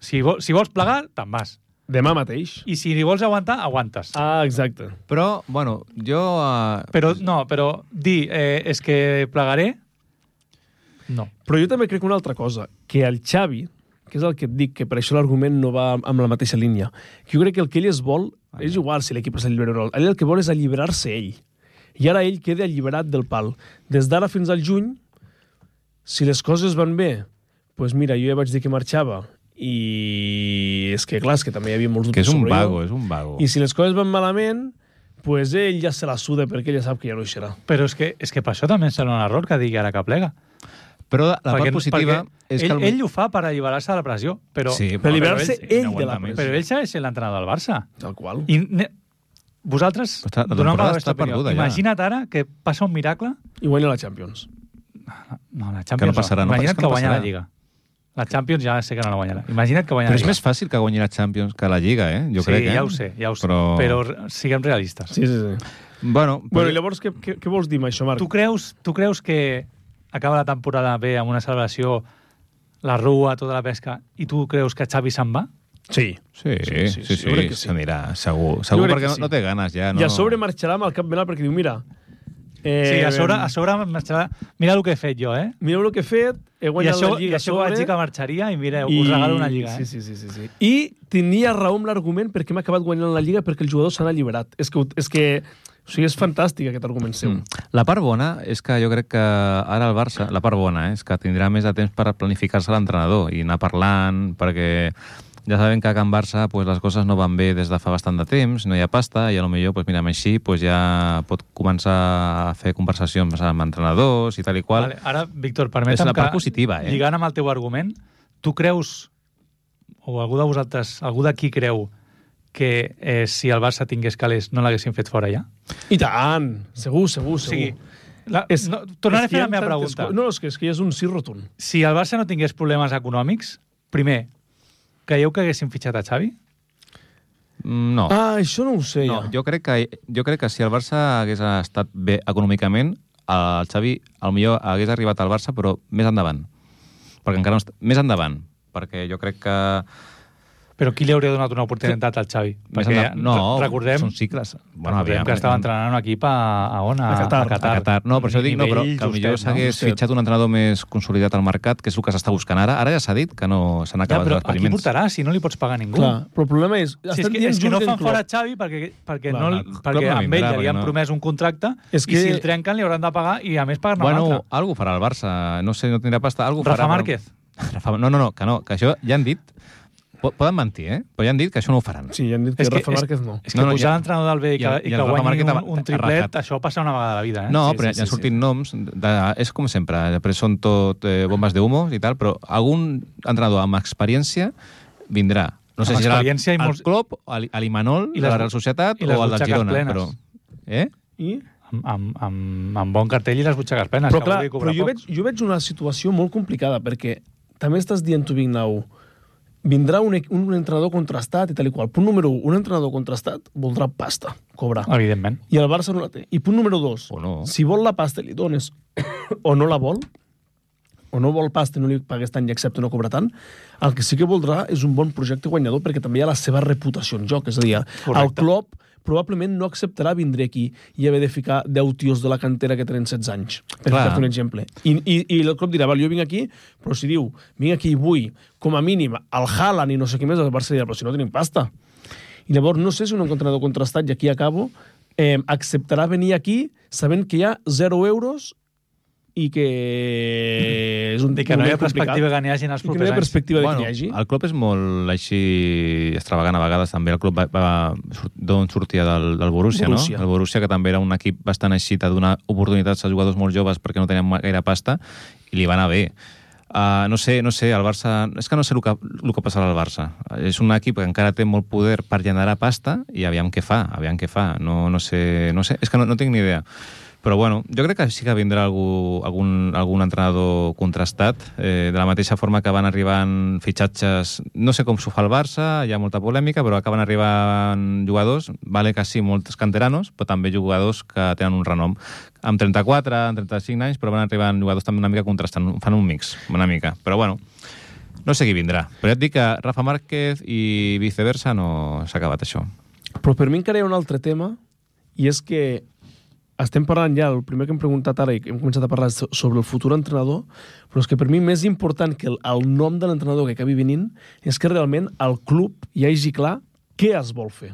S2: Si, vo si vols plegar, te'n vas.
S1: Demà mateix.
S2: I si li vols aguantar, aguantes.
S1: Ah, exacte.
S3: Però, bueno, jo... Uh,
S2: Però no, però dir eh, és que plegaré, no.
S1: Però jo també crec una altra cosa, que el Xavi, que és el que et dic, que per això l'argument no va amb la mateixa línia, que jo crec que el que ell es vol, és igual si l'equip s'allibera o no, ell el que vol és alliberar-se ell. I ara ell queda alliberat del pal. Des d'ara fins al juny, si les coses van bé, doncs mira, jo ja vaig dir que marxava, i és que clar, és que també hi havia molts
S3: Que
S1: dubtes
S3: és un
S1: sobre ell.
S3: vago, és un vago.
S1: I si les coses van malament, pues ell ja se la suda perquè ell ja sap que ja no hi serà.
S2: Però és que, és que per això també serà un error que digui ara que plega.
S3: Però la part positiva és
S2: ell,
S3: que...
S2: el... ell ho fa per alliberar-se de la pressió, però,
S3: Sí,
S1: Per alliberar-se
S3: però
S1: ell,
S3: ell-
S1: de la
S3: Aguanta més.
S1: pressió.
S2: però ell segueix sent l'entrenador del Barça.
S1: Tal qual.
S2: I ne... vosaltres,
S3: Però està- la
S2: doneu-me
S3: temporada
S2: vostra
S3: està perduda, ja.
S2: Imagina't ara que passa un miracle...
S1: I guanya la Champions.
S2: No, la Champions
S3: passarà, no, és
S2: Imagina't
S3: que
S2: que,
S3: no
S2: guanya
S3: passarà.
S2: la Lliga. La Champions ja sé que no la guanyarà. Imagina't que guanya
S3: Però
S2: la
S3: és
S2: Lliga.
S3: més fàcil que guanyi la Champions que la Lliga, eh? Jo
S2: sí,
S3: crec, eh?
S2: ja ho sé, ja ho sé. Però,
S3: Però-
S2: però re- siguem realistes.
S1: Sí, sí, sí.
S3: Bueno,
S1: Bueno,
S3: però-
S1: i llavors què, què, què vols dir amb això, Marc?
S2: Tu creus, tu creus que acaba la temporada bé amb una celebració, la rua, tota la pesca, i tu creus que Xavi se'n va?
S1: Sí.
S3: Sí, sí, sí, sí,
S1: jo crec que sí.
S3: s'anirà, segur. Segur
S1: crec
S3: perquè
S1: que
S3: no-
S1: sí.
S3: no té ganes ja, no?
S1: I a sobre marxarà amb el cap ben alt perquè diu, mira... Eh,
S2: Sí, a sobre, a sobre marxarà... Mira el que he fet jo, eh?
S1: Mireu el que he fet, he
S2: I
S1: guanyat
S2: això,
S1: la
S2: I
S1: Lliga
S2: això
S1: a
S2: vaig dir
S1: sobre,
S2: que marxaria i mireu, us regalo una Lliga, eh?
S1: Sí, sí, sí, sí, sí. I tenia raó amb l'argument perquè m'ha acabat guanyant la Lliga perquè els jugadors s'han alliberat. És que, ho- és que o sigui, és fantàstic aquest argument seu. Mm.
S3: La part bona és que jo crec que ara el Barça, la part bona eh, és que tindrà més de temps per planificar-se l'entrenador i anar parlant, perquè ja sabem que a Can Barça pues, les coses no van bé des de fa bastant de temps, no hi ha pasta, i a lo millor, pues, mira'm així, pues, ja pot començar a fer conversacions amb entrenadors i tal i qual.
S2: Vale, ara, Víctor,
S3: És
S2: permetem
S3: la
S2: que,
S3: part positiva, eh?
S2: lligant amb el teu argument, tu creus, o algú de vosaltres, algú d'aquí creu, que eh, si el Barça tingués calés no l'haguessin fet fora ja?
S1: I tant! Segur, segur, segur.
S2: O sigui, la, és, no, tornaré
S1: que
S2: a fer
S1: hi ha
S2: la meva
S1: tantes
S2: pregunta.
S1: co- No, és que, és que ja és un sí rotund.
S2: Si el Barça no tingués problemes econòmics, primer, creieu que haguessin fitxat a Xavi?
S3: Mm, No.
S1: Ah, això no ho sé,
S3: No,
S1: ja.
S3: jo crec, que, jo crec que si el Barça hagués estat bé econòmicament, el Xavi al millor hagués arribat al Barça, però més endavant. Perquè encara no està... Més endavant. Perquè jo crec que...
S2: Però qui li hauria donat una oportunitat al Xavi?
S3: Més
S2: Perquè
S3: endavant- no,
S2: re- recordem,
S3: són cicles.
S2: bueno, recordem que estava entrenant un equip a, a on? A,
S1: A Qatar.
S3: a Qatar. No, per això dic, no, però
S2: Nivell
S3: que potser
S2: justet, no?
S3: s'hagués
S2: Justet.
S3: fitxat un entrenador més consolidat al mercat, que és el que s'està buscant ara. Ara ja s'ha dit que no s'han
S2: Ja,
S3: acabat
S2: però a
S3: els
S2: qui
S3: experiments.
S2: portarà si no li pots pagar ningú?
S1: Clar, però el problema és...
S2: Si és
S1: estan
S2: que,
S1: dient
S2: és que no
S1: Jurgen
S2: fan fora
S1: Klopp.
S2: Xavi perquè, perquè,
S1: Clar,
S2: no,
S3: clar, clar,
S2: perquè amb ell
S3: no vindrà,
S2: ja li
S3: perquè
S2: han
S3: no.
S2: promès un contracte
S1: És
S2: i
S1: que-
S2: si el trenquen li hauran de pagar i a més pagar-ne
S3: Bueno,
S2: un altre.
S3: algú farà el Barça. No sé, no tindrà pasta. Algú
S2: Rafa
S3: farà, però-
S2: Márquez.
S3: Rafa, no, no, no, que no, que això ja han dit... Po- Poden mentir, eh? Però ja han dit que això no ho faran.
S1: Sí, ja han dit que,
S2: És que-
S1: Rafa
S2: és-
S1: Márquez no.
S2: És que
S3: No, no,
S2: pujar
S3: ja-
S2: l'entrenador del B i
S3: i
S2: que,
S3: el-
S2: i
S3: i el
S2: que
S3: Rafa
S2: guanyi
S3: Márquez
S2: un,
S3: ha-
S2: un
S3: ha
S2: triplet,
S3: rajat.
S2: això passa una vegada a la vida. Eh?
S3: No,
S1: Sí,
S3: sí,
S1: sí,
S3: però sí, ja
S1: sí,
S3: han sortit sí. noms, de, és com sempre, després són tot eh, bombes de humo i tal, però algun entrenador amb experiència vindrà. No sé
S2: Amb
S3: si serà
S2: experiència i
S3: el
S2: molts-
S3: Klopp, o el- a l'Imanol,
S2: I
S3: de
S2: les-
S3: la Real Societat
S2: i les
S3: o el del
S2: butxaques
S3: Girona.
S2: plenes.
S3: Però, eh?
S1: I...
S2: Amb, amb, amb, amb bon cartell i les butxaques plenes.
S1: Però
S2: que
S1: clar,
S2: vulgui cobrar
S1: però jo
S2: poc.
S1: veig, jo veig una situació molt complicada, perquè també estàs dient tu, Vignau, vindrà un, e- un entrenador contrastat i tal i qual. Punt número 1, un entrenador contrastat voldrà pasta, cobrar.
S2: Evidentment.
S1: I el Barça no la té. I punt número 2,
S3: O no.
S1: si vol la pasta li dones o no la vol, o no vol pasta i no li pagues tant i accepta no cobrar tant, el que sí que voldrà és un bon projecte guanyador perquè també hi ha la seva reputació en joc. És a dir, el
S2: Correcte.
S1: Klopp probablement no acceptarà vindre aquí i haver de ficar 10 tios de la cantera que tenen 16 anys, per
S3: Clar.
S1: ficar un exemple. I, i, i el Klopp dirà, vale, jo vinc aquí, però si diu, vinc aquí i vull, com a mínim, el Haaland i no sé qui més, el Barça dirà, però si no tenim pasta. I llavors, no sé si un entrenador contrastat, i aquí acabo, eh, acceptarà venir aquí sabent que hi ha 0 euros i que és un
S2: Mm. I que no hi
S1: moment
S2: ha perspectiva
S1: complicat.
S2: que n'hi hagi en els
S1: I que no hi
S2: propers
S1: ha
S2: anys.
S1: perspectiva de que
S3: Bueno,
S1: n'hi hagi.
S3: el Klopp és molt així extravagant a vegades també. El Klopp va, va surt- d'on sortia del, del Borussia,
S1: Borussia.
S3: no? El Borussia, que també era un equip bastant així de donar oportunitats a jugadors molt joves perquè no tenien gaire pasta, i li va anar bé. Uh, no sé, no sé, el Barça... És que no sé el que, el que passarà al Barça. És un equip que encara té molt poder per generar pasta i aviam què fa, aviam què fa. No, no sé, no sé, és que no, no tinc ni idea. Però bueno, jo crec que sí que vindrà algú, algun, algun entrenador contrastat, eh, de la mateixa forma que van arribant fitxatges, no sé com s'ho fa el Barça, hi ha molta polèmica, però acaben arribant jugadors, vale que sí, molts canteranos, però també jugadors que tenen un renom. Amb 34, amb 35 anys, però van arribant jugadors també una mica contrastant, fan un mix, una mica. Però bueno, no sé qui vindrà. Però ja et dic que Rafa Márquez i viceversa no s'ha acabat això.
S1: Però per mi encara hi ha un altre tema, i és que estem parlant ja, el primer que hem preguntat ara i que hem començat a parlar so- sobre el futur entrenador, però és que per mi més important que el, el nom de l'entrenador que acabi venint és que realment el club hi hagi clar què es vol fer.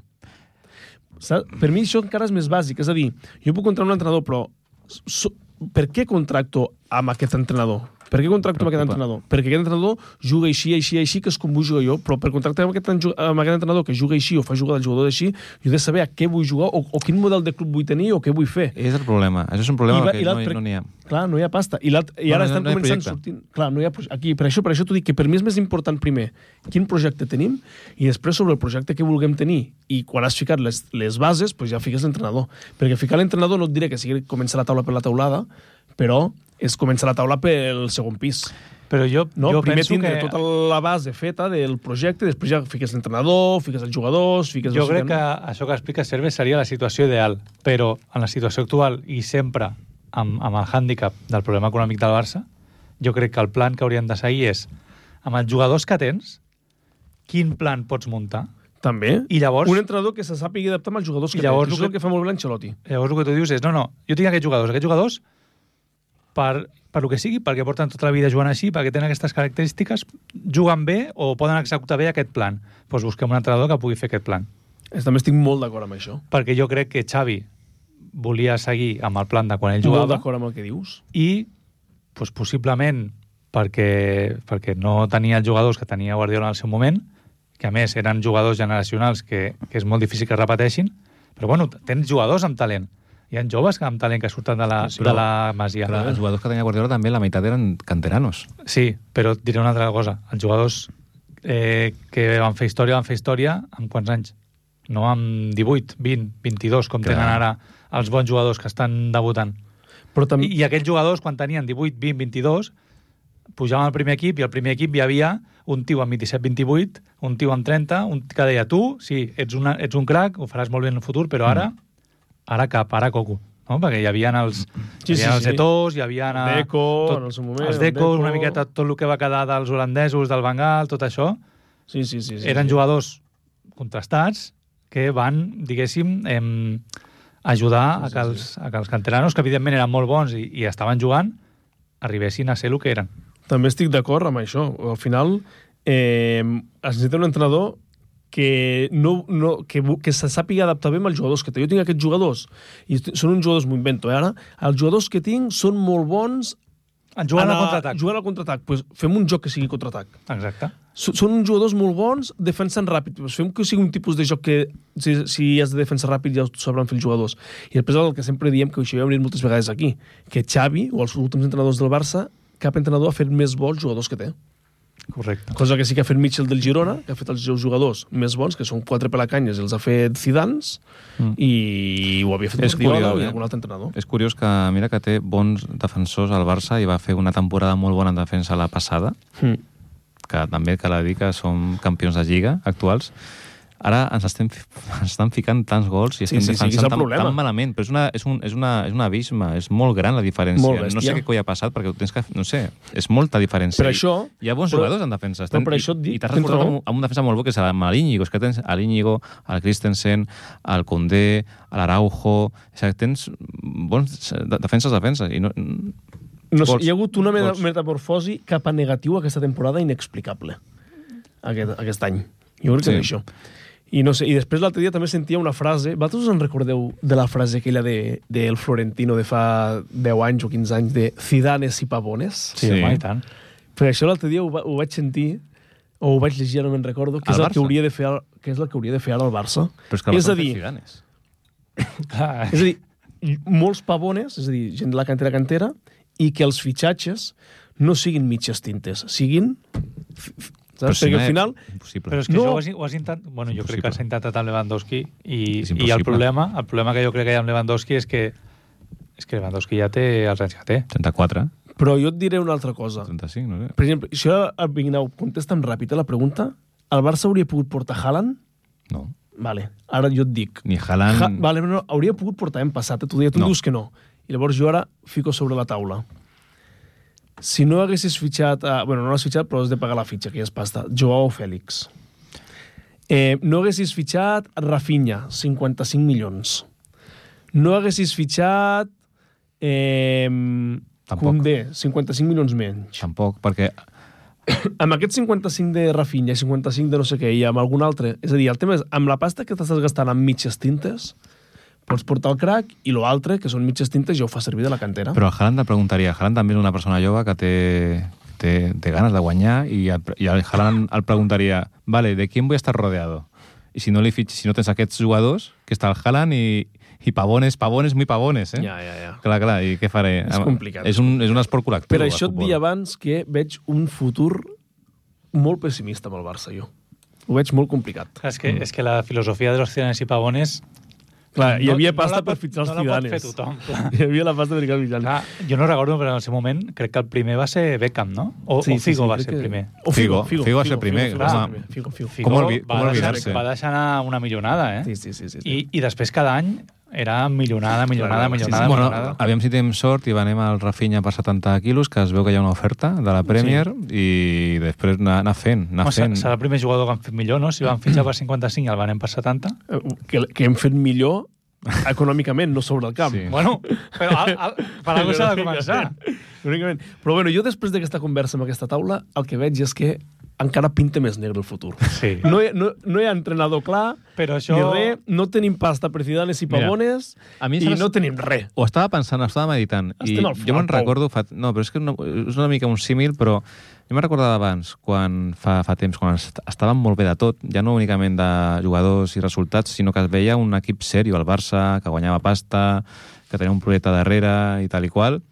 S1: Saps? Per mi això encara és més bàsic. És a dir, jo puc contractar un entrenador, però so, per què contracto amb aquest entrenador? Per què contracto amb aquest
S3: Preocupa.
S1: entrenador? Perquè aquest entrenador juga així, així, així, que és com vull jugar jo, però per contractar amb aquest, enju- amb aquest entrenador que juga així o fa jugar del jugador així, jo he de saber a què vull jugar o, o quin model de club vull tenir o què vull fer.
S3: És el problema. Això és un problema
S1: va-
S3: que no,
S1: l'altre-
S3: no n'hi ha.
S1: Clar, no hi ha pasta. I, l'alt- i
S3: No,
S1: ara
S3: no,
S1: estan
S3: no hi ha
S1: començant
S3: projecte.
S1: sortint... Clar, no hi ha proj- aquí, per això, per això t'ho dic, que per mi és més important primer quin projecte tenim i després sobre el projecte que vulguem tenir. I quan has ficat les, les bases, doncs ja fiques l'entrenador. Perquè ficar l'entrenador no et diré que sigui començar la taula per la taulada, però és començar la taula pel segon pis.
S2: Però jo,
S1: No?
S2: jo
S1: primer
S2: penso
S1: tindre
S2: que...
S1: tota la base feta del projecte, després ja fiques l'entrenador, fiques els jugadors, fiques... no
S2: Jo
S1: sé
S2: crec
S1: què,
S2: que
S1: no?
S2: això que explica Serves seria la situació ideal, però en la situació actual i sempre amb, amb el hàndicap del problema econòmic del Barça, jo crec que el plan que hauríem de seguir és, amb els jugadors que tens, quin plan pots muntar?
S1: També.
S2: I llavors-
S1: Un entrenador que se sàpiga adaptar amb els jugadors
S2: I
S1: que
S2: llavors
S1: té. Això
S2: el
S1: és el
S2: que-
S1: que fa molt bé l'Ancelotti.
S2: Llavors el que tu dius és, no, no, jo tinc aquests jugadors, aquests jugadors, per, per lo que sigui, perquè porten tota la vida jugant així, perquè tenen aquestes característiques, juguen bé o poden executar bé aquest plan. Doncs pues busquem un entrenador que pugui fer aquest plan.
S1: Eh, També estic molt d'acord amb això.
S2: Perquè jo crec que Xavi volia seguir amb el plan de quan ell
S1: Molt
S2: jugava,
S1: d'acord amb el que dius.
S2: i doncs, possiblement perquè, perquè no tenia els jugadors que tenia Guardiola en el seu moment, que a més eren jugadors generacionals que, que és molt difícil que repeteixin, però bueno, tens jugadors amb talent. Hi ha joves amb talent que surten de la,
S3: Sí, sí,
S2: de
S3: però-
S2: la Masia.
S3: Però els jugadors que tenia Guardiola també la meitat eren canteranos.
S2: Sí, però et diré una altra cosa. Els jugadors eh, que van fer història, van fer història amb quants anys? No amb 18, 20, 22, com
S3: Clar.
S2: tenen ara els bons jugadors que estan debutant.
S1: Però també...
S2: I, I aquells jugadors, quan tenien 18, 20, 22, pujaven al primer equip i al primer equip hi havia un tio amb 27, 28, un tio amb 30, un que deia tu, sí, ets, una, ets un crac, ho faràs molt bé en el futur, però ara,
S1: Mm.
S2: ara cap, ara coco. No? Perquè hi havia els,
S1: Sí,
S2: sí, hi havia
S1: sí,
S2: els
S1: sí.
S2: Etos, hi havia...
S1: Deco, en el seu moment,
S2: ah, els
S1: el
S2: Deco,
S1: Deco.
S2: una miqueta tot el que va quedar dels holandesos, del Bengal, tot això,
S1: Sí, sí, sí. sí
S2: eren
S1: sí.
S2: jugadors contrastats que van, diguéssim, em, ajudar a que, els, a que els canteranos, que evidentment eren molt bons i, i estaven jugant, arribessin a ser el que eren.
S1: També estic d'acord amb això. Al final, eh, es necessita un entrenador que, no, no, que, bu- que se sàpiga adaptar bé amb els jugadors que té. Jo tinc aquests jugadors, i est- són uns jugadors, m'ho invento, eh, ara, els jugadors que tinc són molt bons
S2: En jugant
S1: en
S2: al
S1: la-
S2: contraatac.
S1: Jugant al contraatac. Pues fem un joc que sigui contraatac.
S2: Exacte.
S1: S- Són uns jugadors molt bons, defensen ràpid. Pues fem que sigui un tipus de joc que si, si has de defensar ràpid ja ho sabran fer els jugadors. I després el que sempre diem, que això ja ho hem dit moltes vegades aquí, que Xavi o els últims entrenadors del Barça, cap entrenador ha fet més bons jugadors que té.
S2: Correcte.
S1: Cosa que sí que ha fet Mitchell del Girona, que ha fet els seus jugadors més bons, que són quatre pelacanyes, i els ha fet Zidans, mm. i ho havia fet
S3: És
S1: Guardiola
S3: curiós,
S1: i
S3: eh?
S1: algun altre entrenador.
S3: És curiós que mira que té bons defensors al Barça i va fer una temporada molt bona en defensa la passada,
S1: Mm.
S3: que també cal dir que som campions de Lliga actuals. Ara ens, estem, fi- ens estan ficant tants gols i
S1: Sí,
S3: estem
S1: sí, sí, és
S3: defensant
S1: el
S3: tan,
S1: problema.
S3: tan malament, però és, una, és, un, és, una, és un abisme, és molt gran la diferència.
S1: Molt
S3: no sé
S1: bèstia.
S3: què coi ha passat, perquè ho tens que, no sé, és molta diferència.
S1: Per això-
S3: Hi ha bons
S1: però-
S3: jugadors en defensa.
S1: però per això et dic,
S3: I, i t'has
S1: tens
S3: reforçat
S1: raó.
S3: amb, amb una defensa molt bo, que és amb l'Iñigo. És que tens a l'Iñigo, al Christensen, al Condé, a l'Araujo... És que tens bons de- defenses defenses. I no,
S1: No sé,
S3: Gols.
S1: hi ha hagut una meta
S3: Gols.
S1: metamorfosi cap a negatiu aquesta temporada inexplicable, aquest, aquest any. Jo crec que
S3: Sí.
S1: sí. això. I, no sé, I després l'altre dia també sentia una frase, vosaltres us en recordeu de la frase aquella de, del Florentino de fa 10 anys o 15 anys, de Zidanes i Pavones?
S2: Sí,
S3: Sí.
S2: sí. Home, i tant.
S1: Però això l'altre dia ho, va, ho vaig sentir, o ho vaig llegir, no me'n recordo, que
S3: Al
S1: és, el que,
S3: Barça?
S1: hauria de fer, el- que és el que hauria de fer ara el Barça.
S3: Però és que el
S1: és
S3: Barça
S1: a
S3: té
S1: dir,
S3: Zidanes.
S2: Ah,
S1: és a dir, molts pavones, és a dir, gent de la cantera cantera, i que els fitxatges no siguin mitges tintes, siguin... f- f- Saps? Perquè
S3: si no
S1: al
S3: és
S1: final...
S3: Impossible.
S2: Però és que
S1: No.
S2: no. això ho has, ho has intentat... Bueno, jo crec que s'ha intentat amb Lewandowski i,
S3: És
S2: i el
S3: impossible.
S2: problema, el problema que jo crec que hi ha amb Lewandowski és que és que Lewandowski ja té els anys que té.
S3: 34,
S1: Però jo et diré una altra cosa.
S3: 35, no sé.
S1: Per exemple, si ara el Vignau contesta'm ràpid a la pregunta, el Barça hauria pogut portar Haaland?
S3: No.
S1: Vale, ara jo et dic.
S3: Ni Haaland...
S1: Ha, vale, però no, hauria pogut portar en passat, eh? tu, deia, tu
S3: No.
S1: no. dius que no. I llavors jo ara fico sobre la taula. Si no haguessis fitxat... A, bueno, no l'has fitxat, però has de pagar la fitxa, que ja és pasta. Joao Fèlix. Eh, no haguessis fitxat Rafinha, 55 milions. No haguessis fitxat... Eh,
S3: Tampoc.
S1: Koundé, 55 milions menys.
S3: Tampoc, perquè
S1: Amb aquest 55 de Rafinha, 55 de no sé què, i amb algun altre... És a dir, el tema és, amb la pasta que t'estàs gastant amb mitges tintes, pots portar el crack i lo altre, que són mitges tintes, ja ho fa servir de la cantera.
S3: Però a Haaland et preguntaria, Haaland també és una persona jove que té, té, té ganes de guanyar i, el, i el Haaland el preguntaria, vale, ¿de quién voy a estar rodeado? I si no, li fitx, si no tens aquests jugadors, que està el Haaland i, i pavones, pavones, muy pavones, eh?
S1: Ja, ja, ja.
S3: Clar, clar, i què faré?
S1: És complicat.
S3: És un, és un esport col·lectiu.
S1: Per
S3: el
S1: això et
S3: futbol.
S1: dia abans que veig un futur molt pessimista amb el Barça, jo. Ho veig molt complicat.
S2: És que, és que la filosofia dels ciutadans i pavones...
S1: Clar, hi havia
S2: la
S1: pasta
S2: pot-
S1: per fitxar els
S2: no No la pot fer
S1: Zidanes.
S2: tothom, clar. Ah,
S1: Hi havia la pasta per fitxar els
S2: clar.
S1: Zidanes.
S2: Jo no recordo, però en el seu moment crec que el primer va ser Beckham, no? O, sí, o Figo sí, sí, va
S1: crec
S2: ser el primer. Ah,
S1: O Figo,
S3: Figo, Figo va ser primer,
S1: Figo, Figo, va ser
S3: clar.
S1: primer. Figo, Figo.
S2: Figo
S3: Com olvi- com
S2: va,
S3: oblidar-se?
S2: deixar, va deixar anar una millonada, eh?
S1: Sí, sí, sí. sí, sí.
S2: I, I després cada any era millonada, millonada,
S1: Clar, clar, sí,
S2: millonada,
S3: bueno,
S2: millonada.
S3: aviam si tenim sort i venem al Rafinha per 70 quilos, que es veu que hi ha una oferta de la Premier, i després anar, anar fent, anar
S2: Home,
S3: fent.
S2: serà el primer jugador que han fet millor, no? Si van fitxar per 55 i el van per 70.
S1: Que, que hem fet millor econòmicament, no sobre el camp.
S3: Sí.
S2: Bueno, però al, al, per alguna cosa s'ha de començar.
S1: Únicament. Però bueno, jo després d'aquesta conversa amb aquesta taula, el que veig és que encara pinta més negre el futur.
S2: Sí.
S1: No hi, no, no hi ha entrenador clar,
S2: Però això-
S1: ni res, no tenim pasta per Zidanes i
S3: Mira,
S1: Pavones,
S3: a mi
S1: i
S3: saps-
S1: no tenim res.
S3: Ho estava pensant, ho estava meditant. I
S1: Estem al
S3: jo me'n
S1: Flau,
S3: recordo... Fa... No, però és que no, és una mica un símil, però jo me'n recordava abans, quan fa, fa temps, quan est- estàvem molt bé de tot, ja no únicament de jugadors i resultats, sinó que es veia un equip sèrio, el Barça, que guanyava pasta, que tenia un projecte darrere i tal i qual.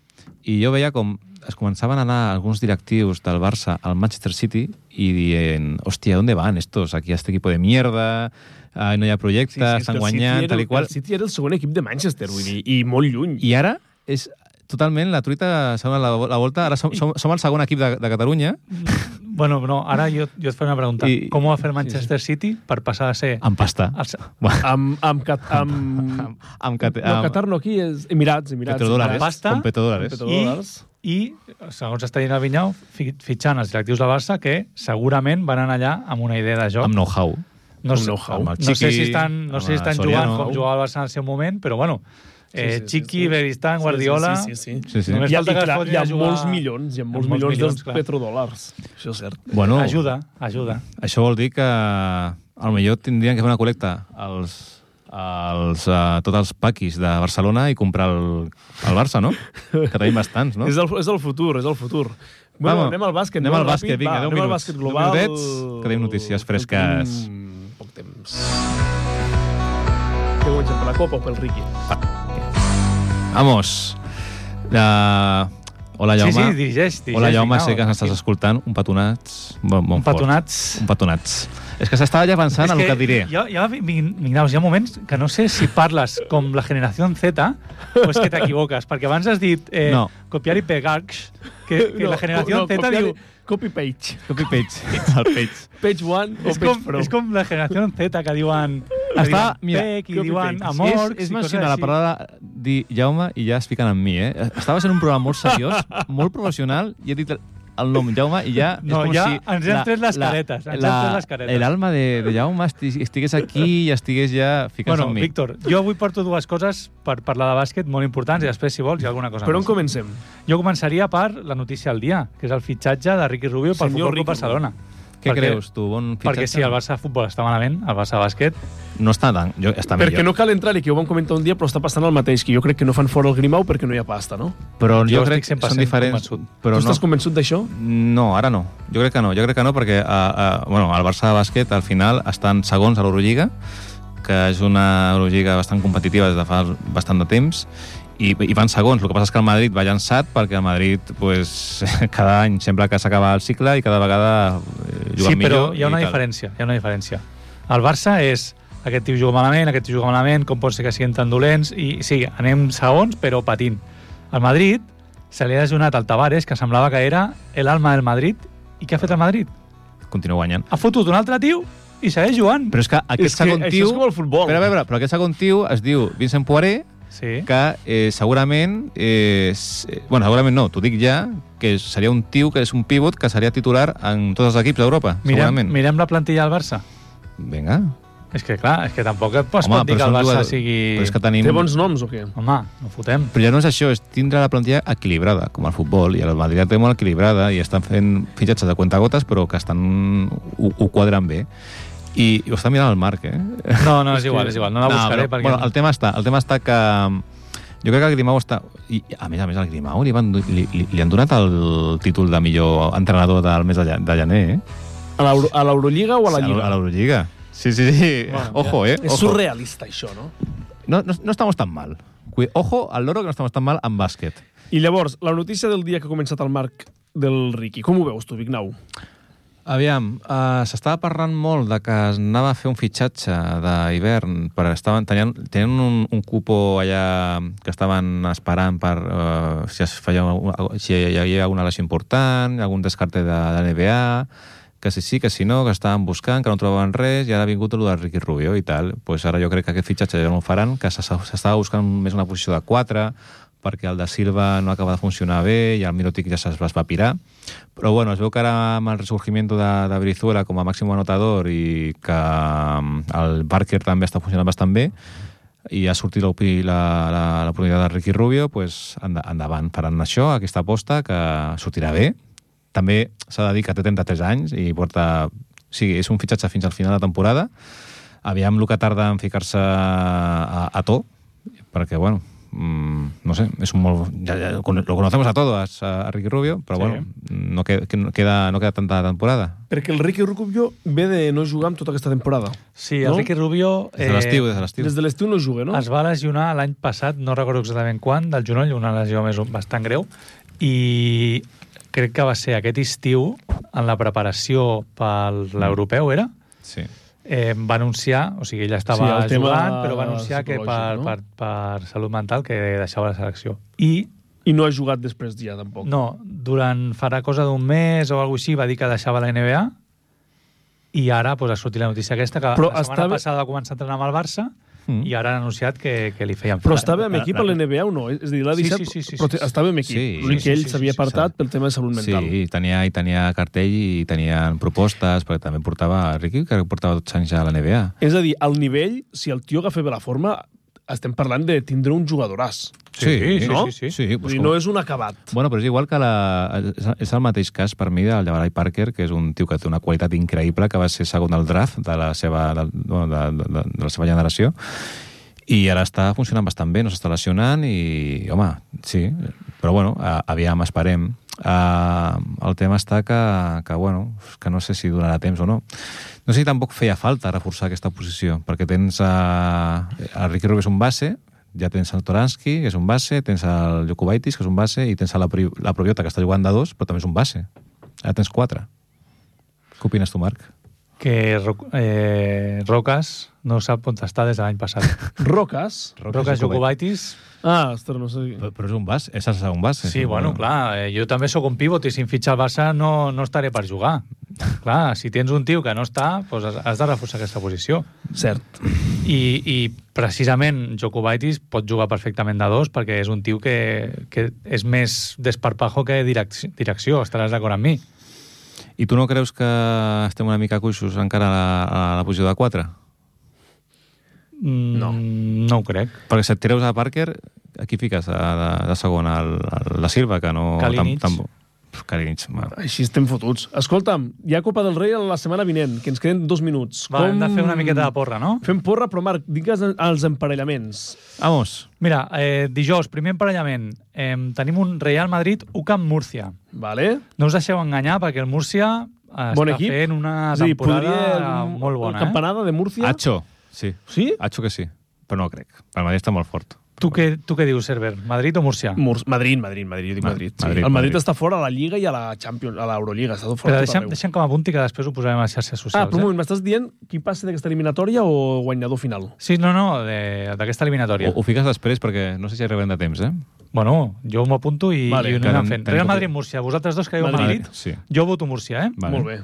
S3: I jo veia com es començaven a anar alguns directius del Barça al Manchester City i dient, hòstia, ¿dónde van estos? Aquí a este equipo de mierda, ah, no hi ha projecte, sí, sí,
S1: és que
S3: estan
S1: el
S3: guanyant,
S1: City era,
S3: tal i qual.
S1: El City era el segon equip de Manchester, vull dir, i molt lluny. I,
S3: I ara és totalment, la truita s'ha donat la, la volta, ara som, som, som el segon equip de, de Catalunya,
S2: Bueno, no, ara jo, jo et faré una pregunta.
S3: I-
S2: I, Com ho va fer el Manchester sí, sí. City per passar a ser...
S3: amb pasta.
S2: El, se-
S1: amb, amb, cat, amb,
S3: Amb, amb, cate-
S1: no, Qatar no, aquí és Emirats, Emirats.
S3: petrodòlars.
S1: Emirats.
S2: pasta,
S3: Amb petrodòlars.
S1: Petrodòlars.
S2: i, segons està dient el Vinyau, fi- fitxant els directius del Barça que segurament van anar allà amb una idea de joc.
S3: Amb know-how.
S2: no, sé,
S1: amb know-how.
S2: no
S3: Chiqui,
S2: sé si estan, no
S3: amb
S2: sé si estan
S3: Soriano.
S2: jugant com jugava el Barça en el seu moment, però bueno,
S7: sí,
S2: eh,
S7: sí,
S2: Chiqui,
S7: sí.
S2: Beristán,
S7: Sí,
S2: Guardiola...
S7: Sí, sí, sí. sí.
S3: Sí, sí.
S2: Només
S1: Hi ha, i
S2: falta que es
S1: clar,
S2: fotin
S1: hi ha
S2: a jugar-
S1: molts milions, hi ha molts, molts milions, de
S2: clar.
S1: petrodòlars. Això és cert.
S3: Bueno,
S2: Ajuda, ajuda.
S3: Això vol dir que a lo millor tindrien que fer una col·lecta als, als, a tots els paquis de Barcelona i comprar el, el Barça, no? Que tenim bastants, no?
S1: És, el, és el futur, és el futur. Bueno,
S3: Vamos.
S1: anem al bàsquet.
S3: Anem al
S1: ràpid,
S3: bàsquet, vinga,
S1: va,
S3: 10
S1: anem al
S3: minuts.
S1: bàsquet
S3: 10
S1: global.
S3: minutets, que tenim notícies fresques.
S1: Tenim poc temps. Què comencem, per la Copa o pel Riqui?
S3: Vamos! La... Eh, Hola,
S2: Sí,
S3: Jaume.
S2: sí, dirigeix, dirigeix.
S3: Hola, Jaume,
S2: Vinyau, eh.
S3: sé que ens estàs
S2: tranquil.
S3: escoltant. Un petonats. Bon, bon
S2: eh? Un petonats...
S3: Fort. Un petonats. És que s'estava ja pensant en el que diré.
S2: Jo, jo, Mignaus, hi ha moments que no sé si parles com la generació Z o és que t'equivoques, perquè abans has dit eh,
S3: No.
S2: copiar i pegar, que, que no, la generació no, Z
S1: copiar-
S2: diu...
S1: Copy page.
S3: Copy page. El page.
S1: Page 1 o
S2: És
S1: page
S2: com,
S1: pro.
S2: és com la generació Z que diuen... que
S3: Està-
S2: diuen
S3: mira,
S2: pec i
S1: copy
S2: diuen
S1: paste.
S2: amor...
S3: és, és mencionar la paraula dir Jaume i ja es fiquen amb mi, eh? Estava sent un programa molt seriós, molt professional, i he dit el nom Jaume i ja...
S2: No,
S3: és com
S2: ja
S3: si
S2: ens hem tret les caretes, ens hem tret les caretes.
S3: L'alma de, de Jaume esti- estigués aquí i estigués ja ficats
S2: Bueno,
S3: amb mi.
S2: Víctor, jo avui porto dues coses per parlar de bàsquet molt importants i després, si vols, hi ha alguna cosa
S1: Per on
S2: més.
S1: comencem?
S2: Jo començaria per la notícia del dia, que és el fitxatge de Ricky Rubio pel
S1: Senyor
S2: Futbol Club
S1: Ricky
S2: Barcelona.
S3: Què
S2: perquè-
S3: creus, tu? Bon fitxatge?
S2: Perquè si el Barça Futbol està malament, el Barça Bàsquet...
S3: No està tan... Jo, està
S1: Perquè
S3: millor.
S1: no cal entrar-hi, que ho vam comentar un dia, però està passant el mateix, que jo crec que no fan fora el Grimau perquè no hi ha pasta, no?
S3: Però jo,
S2: Jo estic
S3: crec que
S2: 100%
S3: són diferents.
S2: convençut.
S1: Però
S3: Però
S1: tu
S3: no,
S1: estàs convençut d'això?
S3: No, ara no. Jo crec que no, jo crec que no perquè a, a, bueno, el Barça de bàsquet al final estan segons a l'Eurolliga, que és una Eurolliga bastant competitiva des de fa bastant de temps, i, i van segons. El que passa és que el Madrid va llançat perquè el Madrid pues, cada any sembla que s'acaba el cicle i cada vegada eh, juga
S2: Sí, però
S3: millor.
S2: hi ha una
S3: i tal.
S2: diferència, hi ha una diferència. El Barça és aquest tio juga malament, aquest tio juga malament, com pot ser que siguin tan dolents, i sí, anem segons, però patint. Al Madrid se li ha lesionat al Tavares, que semblava que era l'alma del Madrid, i què ha fet el Madrid?
S3: Continua guanyant.
S2: Ha fotut un altre tio i segueix jugant.
S3: Però és que aquest
S1: És que
S3: segon
S1: això
S3: tio...
S1: és com el futbol.
S3: Espera, espera, però aquest segon tio es diu Vincent Poiré,
S2: Sí.
S3: que eh, segurament eh, s- eh, bueno, segurament no, t'ho dic ja que seria un tiu que és un pivot que seria titular en tots els equips d'Europa
S2: Mirem,
S3: segurament
S2: mirem la plantilla del Barça.
S3: Vinga.
S2: És que, clar, és que tampoc es pot dir que
S3: són
S2: el Barça
S3: jugadors-
S2: sigui...
S3: però és que tenim...
S1: Té bons noms o què?
S2: Home, no fotem.
S3: Però ja no és això, és tindre la plantilla equilibrada, com el futbol, i el Madrid la té molt equilibrada i estan fent fitxatges de cuentagotes, però que estan... ho, ho quadren bé. I, i ho està mirant el Marc, eh?
S2: No, no, és igual, és igual. No la buscaré
S3: però,
S2: perquè...
S3: Bueno, el tema està, el tema està que... mm, Jo crec que el Grimau està... I, a més a més, el Grimau li, van, do- li, li, li han donat el títol de millor entrenador del mes de, lla- de gener, eh?
S1: A l'Euro- A l'Eurolliga o a la
S3: A
S1: Lliga?
S3: l'Eurolliga. Sí, sí, sí.
S2: Bueno,
S3: ojo, eh?
S1: És
S3: Ojo.
S1: surrealista, això, no?
S3: No, no, no estamos tan mal. Cui- Ojo al loro que no estamos tan mal en bàsquet.
S1: I llavors, la notícia del dia que ha començat el Marc del Riqui. Com ho veus tu, Vignau?
S3: Aviam, uh, s'estava parlant molt de que anava a fer un fitxatge d'hivern, però estaven tenien, tenien un, un cupo allà que estaven esperant per uh, si, es feia, una- si hi havia alguna lesió important, algun descarte de, de NBA, que si sí, que si no, que estaven buscant, que no trobaven res, i ara ha vingut el de Ricky Rubio i tal. pues ara jo crec que aquest fitxatge ja no el faran, que s'es- s'estava buscant més una posició de 4, perquè el de Silva no acaba de funcionar bé i el Mirotic ja se'ls va espirar. Però bueno, es veu que ara amb el resurgimiento de, de Brizuela com a màxim anotador i que mm, el Barker també està funcionant bastant bé i ha sortit l'opi- la- la- l'oportunitat de Ricky Rubio, pues, enda- endavant faran això, aquesta aposta, que sortirà bé. També s'ha de dir que té 33 anys i porta... O sigui, és un fitxatge fins al final de temporada. Aviam el que tarda en ficar-se a, a to, perquè, bueno, mm, no sé, és un molt... Ja, ja, lo conocemos a todos, a, a Ricky Rubio, però,
S2: Sí.
S3: sí. bueno, no, que, que no, queda, no queda tanta temporada.
S1: Perquè el Riqui Rubio ve de no jugar amb tota aquesta temporada.
S2: Sí, el
S1: No?
S2: Ricky Rubio...
S3: Des de l'estiu, des de l'estiu.
S1: Des de l'estiu no juga, no?
S2: Es va lesionar l'any passat, no recordo exactament quan, del genoll, una lesió més o- bastant greu, i crec que va ser aquest estiu, en la preparació per l'europeu, era?
S3: Sí.
S2: Eh, va anunciar, o sigui, ella estava
S1: Sí, el
S2: sí,
S1: tema
S2: jugant, però va anunciar que per,
S1: psicològic, no?
S2: per, per salut mental que deixava la selecció. I
S1: I no ha jugat després ja, tampoc.
S2: no, durant farà cosa d'un mes o alguna així va dir que deixava la NBA i ara pues, ha sortit la notícia aquesta que
S1: Però
S2: la
S1: estava-
S2: setmana passada va començar a entrenar amb el Barça i ara han anunciat que, que li feien
S1: Però
S2: fora.
S1: estava amb
S3: la-
S1: equip
S3: la-
S1: a l'NBA o no? És a dir, l'ha
S2: Sí,
S1: deixat...
S2: sí, sí, sí,
S1: però
S2: sí, sí.
S1: estava amb equip.
S3: Sí,
S1: L'únic
S2: sí,
S1: que ell
S2: sí, sí,
S1: s'havia
S2: sí,
S1: apartat
S3: sí.
S1: pel tema de salut mental.
S3: Sí, i tenia, i tenia cartell i tenien propostes, perquè també portava Ricky, que portava tots anys ja a la NBA.
S1: És a dir, al nivell, si el tio agafa bé la forma, estem parlant de tindre un jugadoràs.
S2: Sí, sí,
S1: no?
S2: sí, sí.
S3: sí
S1: Vull
S3: pues
S1: dir, no és un acabat.
S3: Bueno, però és igual que la... és- és el mateix cas per mi del Jabari Parker, que és un tio que té una qualitat increïble, que va ser segon al draft de la seva, de, bueno, de, de, de, de la seva generació, i ara està funcionant bastant bé, no s'està lesionant, i, home, sí, però bueno, a, aviam, esperem. Uh, el tema està que, que, bueno, que no sé si donarà temps o no. No sé si tampoc feia falta reforçar aquesta posició, perquè tens a, a Ricky Rubio, que és un base, ja tens el Toranski, que és un base, tens el Jokubaitis, que és un base, i tens la, Pri- la Probiota, que està jugant de dos, però també és un base. Ara tens quatre. Què opines tu, Marc?
S2: Que Ro- eh, Rocas no sap on està des de l'any passat.
S1: Roques...
S2: Rocas Jokubaitis...
S1: Ah, ostres, no sé...
S3: Però, però és un base, és el segon base.
S2: Sí, bueno, clar, eh, jo també sóc un pivot i si em fitxa el Barça no, no estaré per jugar. Clar, si tens un tio que no està, doncs has- has de reforçar aquesta posició.
S1: Cert.
S2: I, i precisament Jokubaitis pot jugar perfectament de dos perquè és un tio que, que és més desparpajo que direcció, direcció estaràs d'acord amb mi.
S3: I tu no creus que estem una mica cuixos encara a la, a la posició de quatre?
S2: No. Mm, No ho crec.
S3: Perquè si et treus a Parker, aquí fiques a, de, de segon el, el, la Silva, que no...
S2: Kalinic.
S3: Pff, Kalinic, va.
S1: Així estem fotuts. Escolta'm, hi ha Copa del Rei la setmana vinent, que ens queden dos minuts.
S2: Va, hem de fer una miqueta de porra, no?
S1: Fem porra, però Marc, digues els emparellaments.
S3: Vamos!
S2: Mira, eh, dijous, primer emparellament, eh, tenim un Real Madrid, UCAM Múrcia.
S1: Vale?
S2: No us deixeu enganyar perquè el Múrcia eh,
S1: Bon
S2: està
S1: equip.
S2: fent una temporada molt bona. eh?
S1: La campanada de
S3: Ja?
S1: Múrcia...
S3: Acho, sí.
S1: Sí?
S3: Acho que sí, però no crec. El Madrid està molt fort.
S2: Eh? Tu, què, tu què dius, Cerver? Madrid o Múrcia?
S1: Mur Madrid, Madrid, Madrid, jo dic
S3: Ma-
S1: Madrid. sí.
S3: Madrid,
S1: el Madrid,
S3: Madrid.
S1: està fora a la Lliga i a la Champions, a l'Eurolliga, està tot fora. a
S2: Però
S1: tot
S2: deixa'm,
S1: arreu.
S2: deixa'm que m'apunti que després ho posarem a les xarxes socials.
S1: Ah, però un
S2: eh?
S1: moment, m'estàs dient qui passa d'aquesta eliminatòria o guanyador final?
S2: Sí, no, no, de- d'aquesta eliminatòria.
S3: Ho, ho fiques després perquè no sé si arribem de temps, eh?
S2: Bueno, jo m'ho apunto i,
S1: Vale,
S2: vale, i ho
S3: que
S2: anem
S3: anem-
S2: fent.
S3: tenim
S2: Real
S3: que-
S2: Madrid-Múrcia, vosaltres dos creieu
S1: Madrid.
S2: Madrid.
S3: Madrid, sí.
S2: Jo voto Múrcia, eh?
S3: Vale.
S1: Molt bé.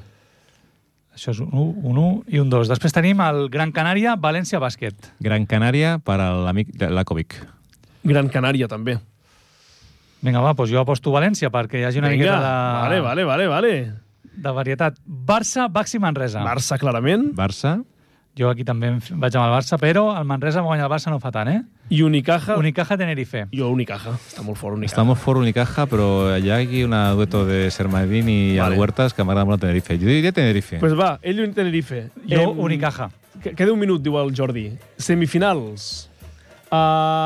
S2: Això és un 1, un 1 i un 2. Després tenim el Gran Canària, València Bàsquet.
S3: Gran Canària per a l'amic Lakovic.
S1: Gran Canària, també.
S2: Vinga, va, doncs jo aposto València perquè hi hagi una miqueta de,
S1: vale, vale, vale, vale.
S2: de varietat. Barça, Baxi, Manresa.
S1: Barça, clarament.
S3: Barça,
S2: Jo aquí també em f- vaig amb el Barça, però el Manresa guanya el Barça no fa tant, eh?
S1: I Unicaja...
S2: Unicaja, Tenerife.
S1: Jo, Unicaja. Està molt fort, Unicaja.
S3: està molt fort Unicaja, però hi ha aquí una dueto de Sermadín i
S1: Vale.
S3: vale. Huertas que m'agrada molt el Tenerife. Jo diria Tenerife.
S1: Pues va, ell i un Tenerife.
S2: Jo,
S1: Em,
S2: Unicaja.
S1: que- Queda un minut, diu el Jordi. Semifinals.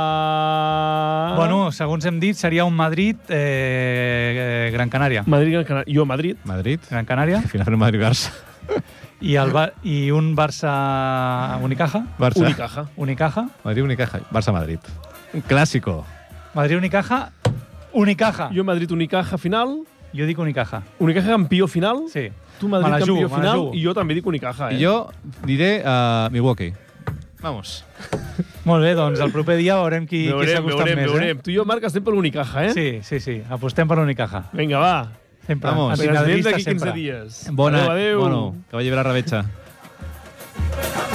S1: Uh...
S2: Bueno, segons hem dit, seria un Madrid, eh, eh, Gran Canària.
S1: Madrid, Gran Canària. Jo, Madrid.
S3: Madrid.
S2: Gran Canària.
S3: Final Madrid-Barça.
S2: I, el Bar i un Barça Unicaja.
S3: Barça.
S1: Unicaja.
S2: Unicaja.
S3: Madrid-Unicaja. Barça-Madrid. Un clàssico.
S2: Madrid Unicaja. Unicaja. Jo,
S1: Jo, Madrid, Unicaja, final.
S2: jo dic Unicaja.
S1: Unicaja, campió final.
S2: Sí.
S1: Tu, Madrid,
S2: Me la jugo,
S1: campió
S2: me la
S1: final.
S2: jugo.
S1: I jo també dic Unicaja, eh?
S3: I jo diré uh, Milwaukee. Vamos.
S2: Molt bé, doncs el proper dia veurem qui, qui s'ha
S1: veurem,
S2: acostat
S1: veurem,
S2: més.
S1: veurem. Tu i jo, Marc, estem per l'Unicaja, eh?
S2: Eh? Sí, sí, sí. Apostem per l'Unicaja.
S1: Vinga, va.
S2: Sempre.
S3: Vamos.
S1: Ens veiem
S2: Antimadridista
S1: d'aquí 15
S2: sempre.
S1: dies.
S3: Bona.
S1: Adéu, adéu.
S3: Bueno, que vagi bé la rebetxa.